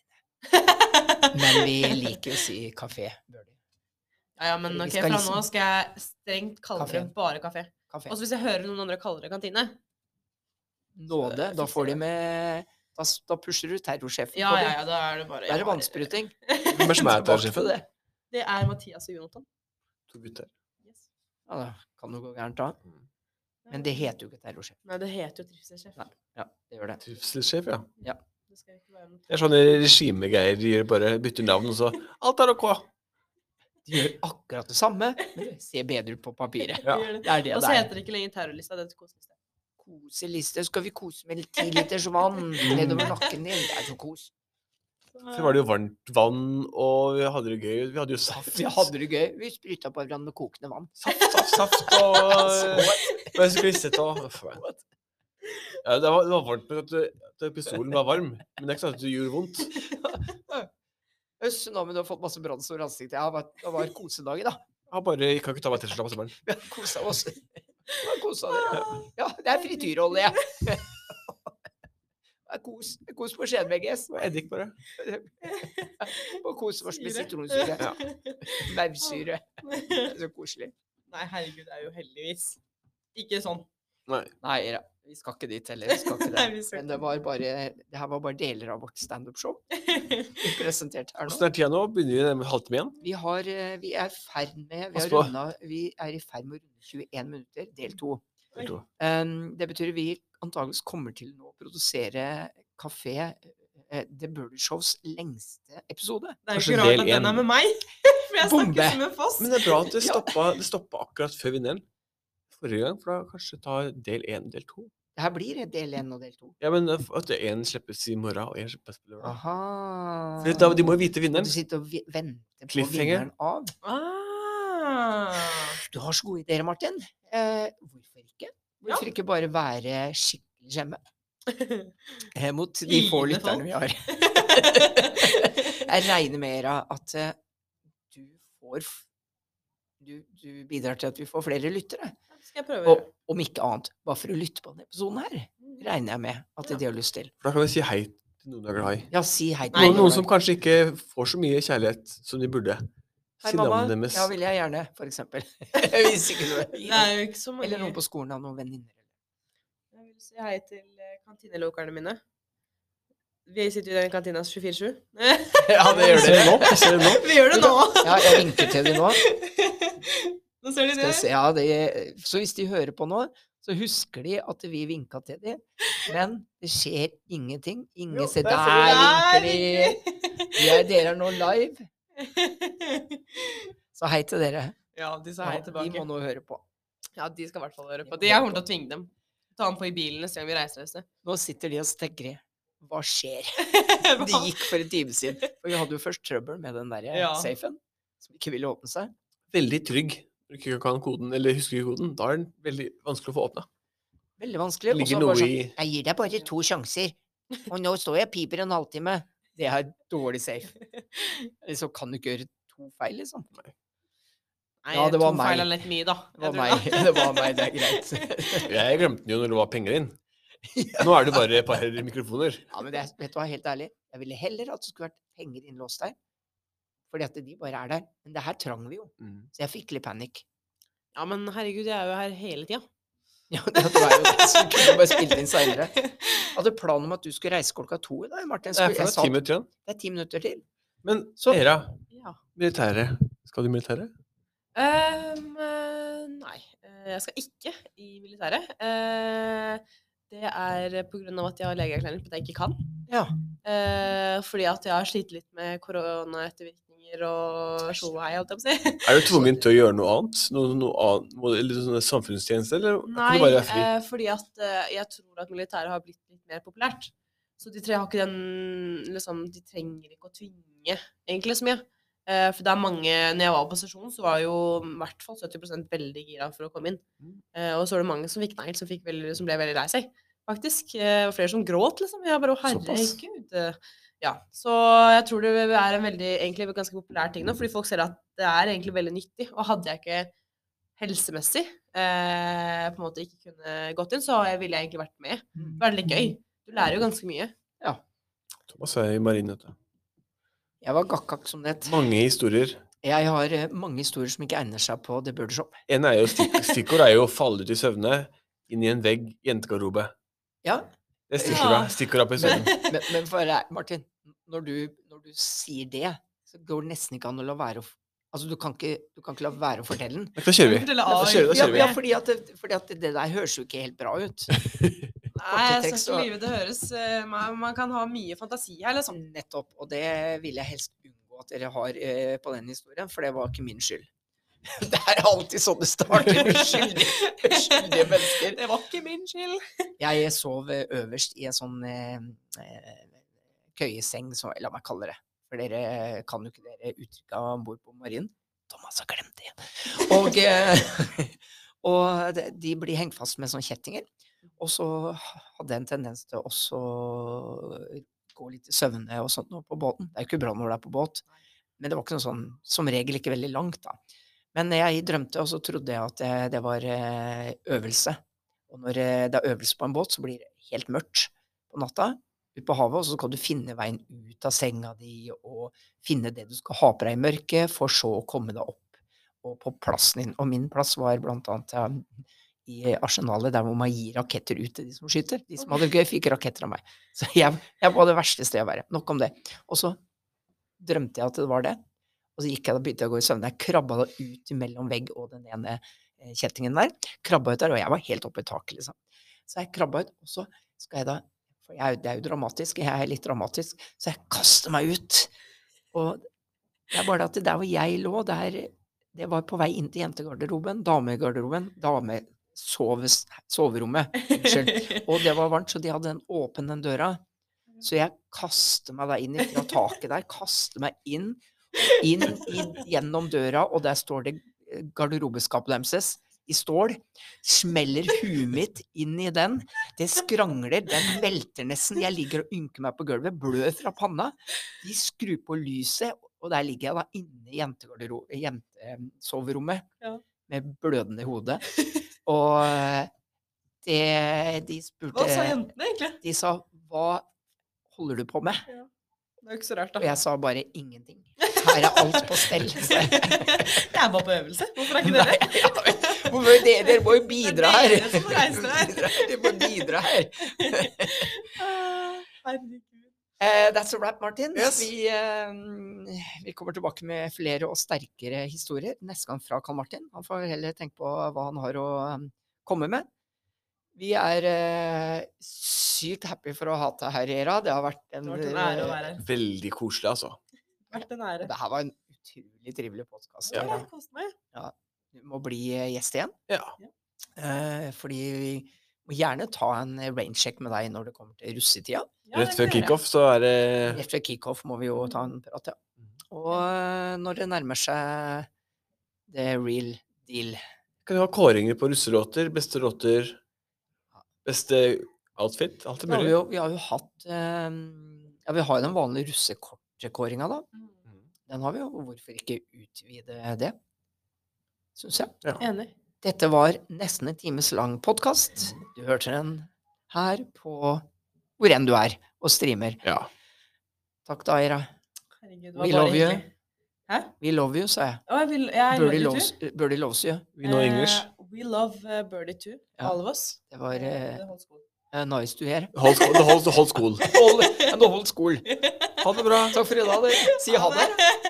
Men vi liker å si kafé. Birdie. Ja, ja, men Vi ok, skal fra liksom- nå skal jeg strengt kalle Kafé. dere bare kafé. Kafé. Og hvis jeg hører noen andre kalle dere kantine Nåde. Da fikser får de det. med Da, s- da pusher du terrorsjefen Ja, på ja, det. ja, da er det bare Da er det vannspruting. Hvem er som er Tilbake til terrorsjefen? det. Det er Mathias og Jonathan. To gutter. Yes. Ja, da kan det gå gærent da. Men det heter jo ikke terrorsjef. Nei, det heter jo trivselssjef. Nei. Ja, det gjør det. Trivselssjef, ja. Det skal jo ikke være noe Det er sånne regimegreier. De gjør bare bytter navn, og så Alt er ok. De De gjør akkurat det samme, men det ser bedre ut på papiret. Ja. Gjør det. Det er det Og så det er. heter det ikke lenger terrorlista, det heter koselista. Koseliste. Skal vi kose med ti liters vann nedover nakken din? Det er så kos. Så var det jo varmt vann, og vi hadde det gøy. Vi hadde jo saft. Vi hadde det gøy. Vi spruta på hverandre med kokende vann. Saft, saft, saft og Og jeg sklisset og Uff, meg. ja, det, var, det var varmt, men at, du- at pistolen var varm. Men det er ikke sånn at det gjorde vondt. Øss, nå men du har fått masse brannsår i ansiktet. Ja, det var- det var kosedagen, da. Jeg bare, jeg kan ikke ta meg T-skjorta på sommeren. Vi har kosa oss. Vi har kosa dere. Ja, det er frityrolje. Det er kos, det er kos på skjeen, VGS. Det var eddik, bare. Og kose oss med Syre. sitronsyre. Ja. Maursyre. Det er Så koselig. Nei, herregud, det er jo heldigvis ikke sånn. Nei. Nei, Ira, vi skal ikke dit heller. Vi skal ikke Nei, det. vi skal Men det, var bare, det her var bare deler av vårt standup-show vi presenterte her nå. Åssen er tida nå? Begynner vi nærmere halvtime igjen? Vi, har, eh, vi, er ferd med, vi, Pass har på. rundet, vi er i ferd med å runde 21 minutter, del to. Jeg tror. Em, det betyr vi antageligvis kommer til nå å produsere Kafé eh, The Burder Shows lengste episode. Det er jo Kanskje ikke rart del at den én. er med meg, for jeg Bombe. snakker som en foss. Men det er bra at det stoppa, det stoppa akkurat før vinneren. Forrige gang, for da kanskje ta del én, del to. Det her blir del én og del to. Ja, men at én slippes i morgen, og én slippes på lørdag. Aha. For da- De må jo vite Kan vinneren. du sitte og vi- vente på Cliffhanger. vinneren av? Ah. Du har så gode ideer, Martin. Eh, hvorfor ikke? Hvorfor ikke bare være skikkelig hjemme eh, mot de få Fine lytterne vi har? Jeg regner med Era, at eh, du får f- du, du bidrar til at vi får flere lyttere. Skal jeg prøve å Og gjøre? om ikke annet, bare for å lytte på denne episoden her, regner jeg med at Ja. de har lyst til. For da kan vi si hei til noen du er glad i. Ja, si hei til Nei, Noen, noen Olav. som kanskje ikke får så mye kjærlighet som de burde. Hei, Si mamma. navnet deres. Ja, vil jeg gjerne, for eksempel. Hvis ikke du Det er jo ikke så mange. Eller noen på skolen av noen venninner. Jeg vil si hei til eh, kantinelokerne mine. Vi sitter jo i den kantina 24-7. vi Ja, Ser dere nå? Ser dere nå? gjør det nå! Ja, jeg vinker til dem nå. nå ser de Skal det. jeg se, ja, det, så hvis de hører på nå, så husker de at vi vinka til dem. Men det skjer ingenting. Ingen ser der Der vinker de! Vi er, dere er nå live, så hei til dere. Ja, de sa Ja, hei de må tilbake. nå høre på. Ja, de skal i hvert fall høre De på. må De, jeg høre kommer til å tvinge dem. Ta den på i bilen neste gang vi reiser et sted. Nå sitter de og stegrer. Hva skjer? De Hva? gikk for en time siden. For vi hadde jo først trøbbel med den derre Ja. safen, som ikke ville åpne seg. Veldig trygg. Når du ikke kan koden, eller husker ikke koden, da er den veldig vanskelig å få åpna. Veldig vanskelig. Og så Ligger bare noe sånn i Jeg gir deg bare to sjanser. Og nå står jeg og piper en halvtime. Det er dårlig safe. Eller Så kan du ikke gjøre to feil, liksom. Nei, Ja, det var to meg. feil er litt mye, da. Det var Jeg meg. tror Det var meg, det er greit. Jeg glemte den jo når det var penger inn. Nå er det bare et par mikrofoner. Ja, men det, er- vet du hva, helt ærlig, jeg ville heller at det skulle vært penger innlåst der. Fordi at de bare er der. Men det her trang vi jo, Mm. så jeg fikk litt panikk. Ja, men herregud, jeg er jo her hele tida. Ja, det var jo det, så vi kunne bare spilt inn seinere. Hadde planen om at du skulle reise klokka to i dag, Martin. Det er Skulle, jeg fortsatt sa ti minutter igjen. det er ti minutter til. Men Så- Era, Ja. militæret. Skal du i militæret? Ehm, eh, nei, eh, jeg skal ikke i militæret. Eh, det er på grunn av at jeg har legeerklæring på at jeg ikke kan. Ja. Eh, fordi at jeg har slitt litt med koronaettervirkninger og tjohei, holdt jeg på å si. Er du tvungen til å gjøre noe annet? Noe, noe annet må- eller sånne samfunnstjeneste, eller Nei, kan du bare være fri? eh, fordi at eh, jeg tror at militæret har blitt litt mer populært. Så de tre har ikke den liksom, De trenger ikke å tvinge egentlig så mye. Eh, for det er mange Når jeg var på stasjonen, så var jo i hvert fall 70 veldig gira for å komme inn. Eh, og så var det mange som fikk nei, som, fikk veldig, som ble veldig lei seg, faktisk. Eh, og flere som gråt, liksom. Jeg bare Å, Såpass. herregud. eh, Ja. Så jeg tror det er en veldig, egentlig ganske populær ting nå, fordi folk ser at det er egentlig veldig nyttig. Og hadde jeg ikke helsemessig eh, på en måte ikke kunne gått inn, så ville jeg egentlig vært med. Det er litt gøy. Du lærer jo ganske mye. eh, Thomas er i marinen. vet du. Jeg var gakkak som det het. Mange historier. Jeg har eh, mange historier som ikke egner seg på The Burder Show. En er jo stikk, stikkord er jo å falle ut i søvne, inn i en vegg, jentegarderobe. Ja. Det er stikkordet. Stikkordet på episoden. Men, men for deg, Martin, når du, når du sier det, så går det nesten ikke an å la være å f- Altså, du kan ikke, du kan ikke la være å fortelle den. Da kjører vi. Fortelle Da AI. kjører vi, da Ja, kjører vi. ja fordi, at det, fordi at det der høres jo ikke helt bra ut. Nei, jeg Kortetekst skal og- sånn ikke lyve. Det høres eh, man, man kan ha mye fantasi her, liksom. Nettopp. Og det vil jeg helst unngå. at dere har eh, på den historien, for det var ikke min skyld. det er alltid sånn det starter. Uskyldige, uskyldige mennesker. Det var ikke min skyld. Jeg sov eh, øverst i en sånn eh, eh, køyeseng, så, la meg kalle det. For dere kan jo ikke dere uttrykka om bord på marinen. Thomas har glemt det igjen. Og, eh, og de- de blir hengt fast med sånne kjettinger. Og så hadde jeg en tendens til å også gå litt i søvne og sånt nå på båten. Det er jo ikke bra når det er på båt, men det var ikke noe sånn Som regel ikke veldig langt, da. Men jeg drømte, og så trodde jeg at det, det var eh, øvelse. Og når eh, det er øvelse på en båt, så blir det helt mørkt på natta ut på havet, og så skal du finne veien ut av senga di og finne det du skal ha på deg i mørket, for så å komme deg opp og på plassen din. Og min plass var blant annet ja, i arsenalet, der hvor man gir raketter ut til de som skyter. De som hadde det gøy, fikk raketter av meg. Så jeg, jeg var det verste stedet å være. Nok om det. Og så drømte jeg at det var det, og så gikk jeg da begynte jeg å gå i søvne. Jeg krabba da ut mellom vegg og den ene eh, kjettingen der. Krabba ut der, og jeg var helt oppe i taket, liksom. Så jeg krabba ut, og så skal jeg da For jeg, er jo- det er jo dramatisk, jeg er litt dramatisk, så jeg kaster meg ut. Og det er bare det at der hvor jeg lå, der, det var på vei inn til jentegarderoben, damegarderoben, damesoves- soverommet. Unnskyld. Og det var varmt, så de hadde den åpen, den døra. Så jeg kaster meg da inn fra taket der, kaster meg inn, inn, inn gjennom døra, og der står det eh, garderobeskapet deres i stål. Smeller huet mitt inn i den. Det skrangler, den velter nesten. Jeg ligger og ynker meg på gulvet, blør fra panna. De skrur på lyset, og der ligger jeg da inne i jentegarderob- jentesoverommet Ja. med blødende hode. Og eh, det de spurte Hva sa jentene, egentlig? De sa 'hva holder du på med?' Det er jo ikke så rart, Og da. jeg sa bare 'ingenting'. Her er alt på stell. sa jeg. Jeg er bare på øvelse. Hvorfor er ikke Nei, dere? ja, men hvor- dere, dere må jo Det bidra er her. dere som må reise dere her. Bidra- Dere må bidra her. Ah, Herregud. Eh, that's a wrap, Martin. Yes. Vi, eh, vi kommer tilbake med flere og sterkere historier neste gang fra Karl Martin. Han får heller tenke på hva han har å eh, komme med. Vi er eh, sykt happy for å ha deg her, Era. Det har vært en, Det har vært en ære å være her. Veldig koselig, altså. Vært en ære. eh, Det her var en utrolig trivelig podkast. Ja, jeg koste meg. Du må bli eh, gjest igjen. Ja. Eh, fordi vi må gjerne ta en eh, raincheck med deg når det kommer til russetida. Ja, Rett det kan før jeg gjøre. kickoff så er det Rett før kickoff må vi jo ta en prat, ja. Og eh, når det nærmer seg the real deal Kan vi ha kåringer på russelåter? Beste låter? Beste outfit? Alt er vi har, mulig. jo, vi har jo hatt eh, Ja, vi har jo den vanlige russekortkåringa, da. Den har vi jo. og Hvorfor ikke utvide det? Syns jeg. Enig. Dette var nesten en times lang podkast. Du hørte den her på hvor enn du er og streamer. Ja. Takk da, Eira. Herregud, det We var bare love you. hyggelig. Hæ? We love you, sa jeg. Å, jeg vil, Birdie jeg love you loves, too. birdie loves you. We know English. Eh, we love eh, Birdie too, Ja. all of us. Det var Eh, eh, det holdt skolen. nice to hear. Hold, sko- the whole- the whole school. Hold, and hold school. Ha det bra. Takk for i dag. dere. Si ha det. det.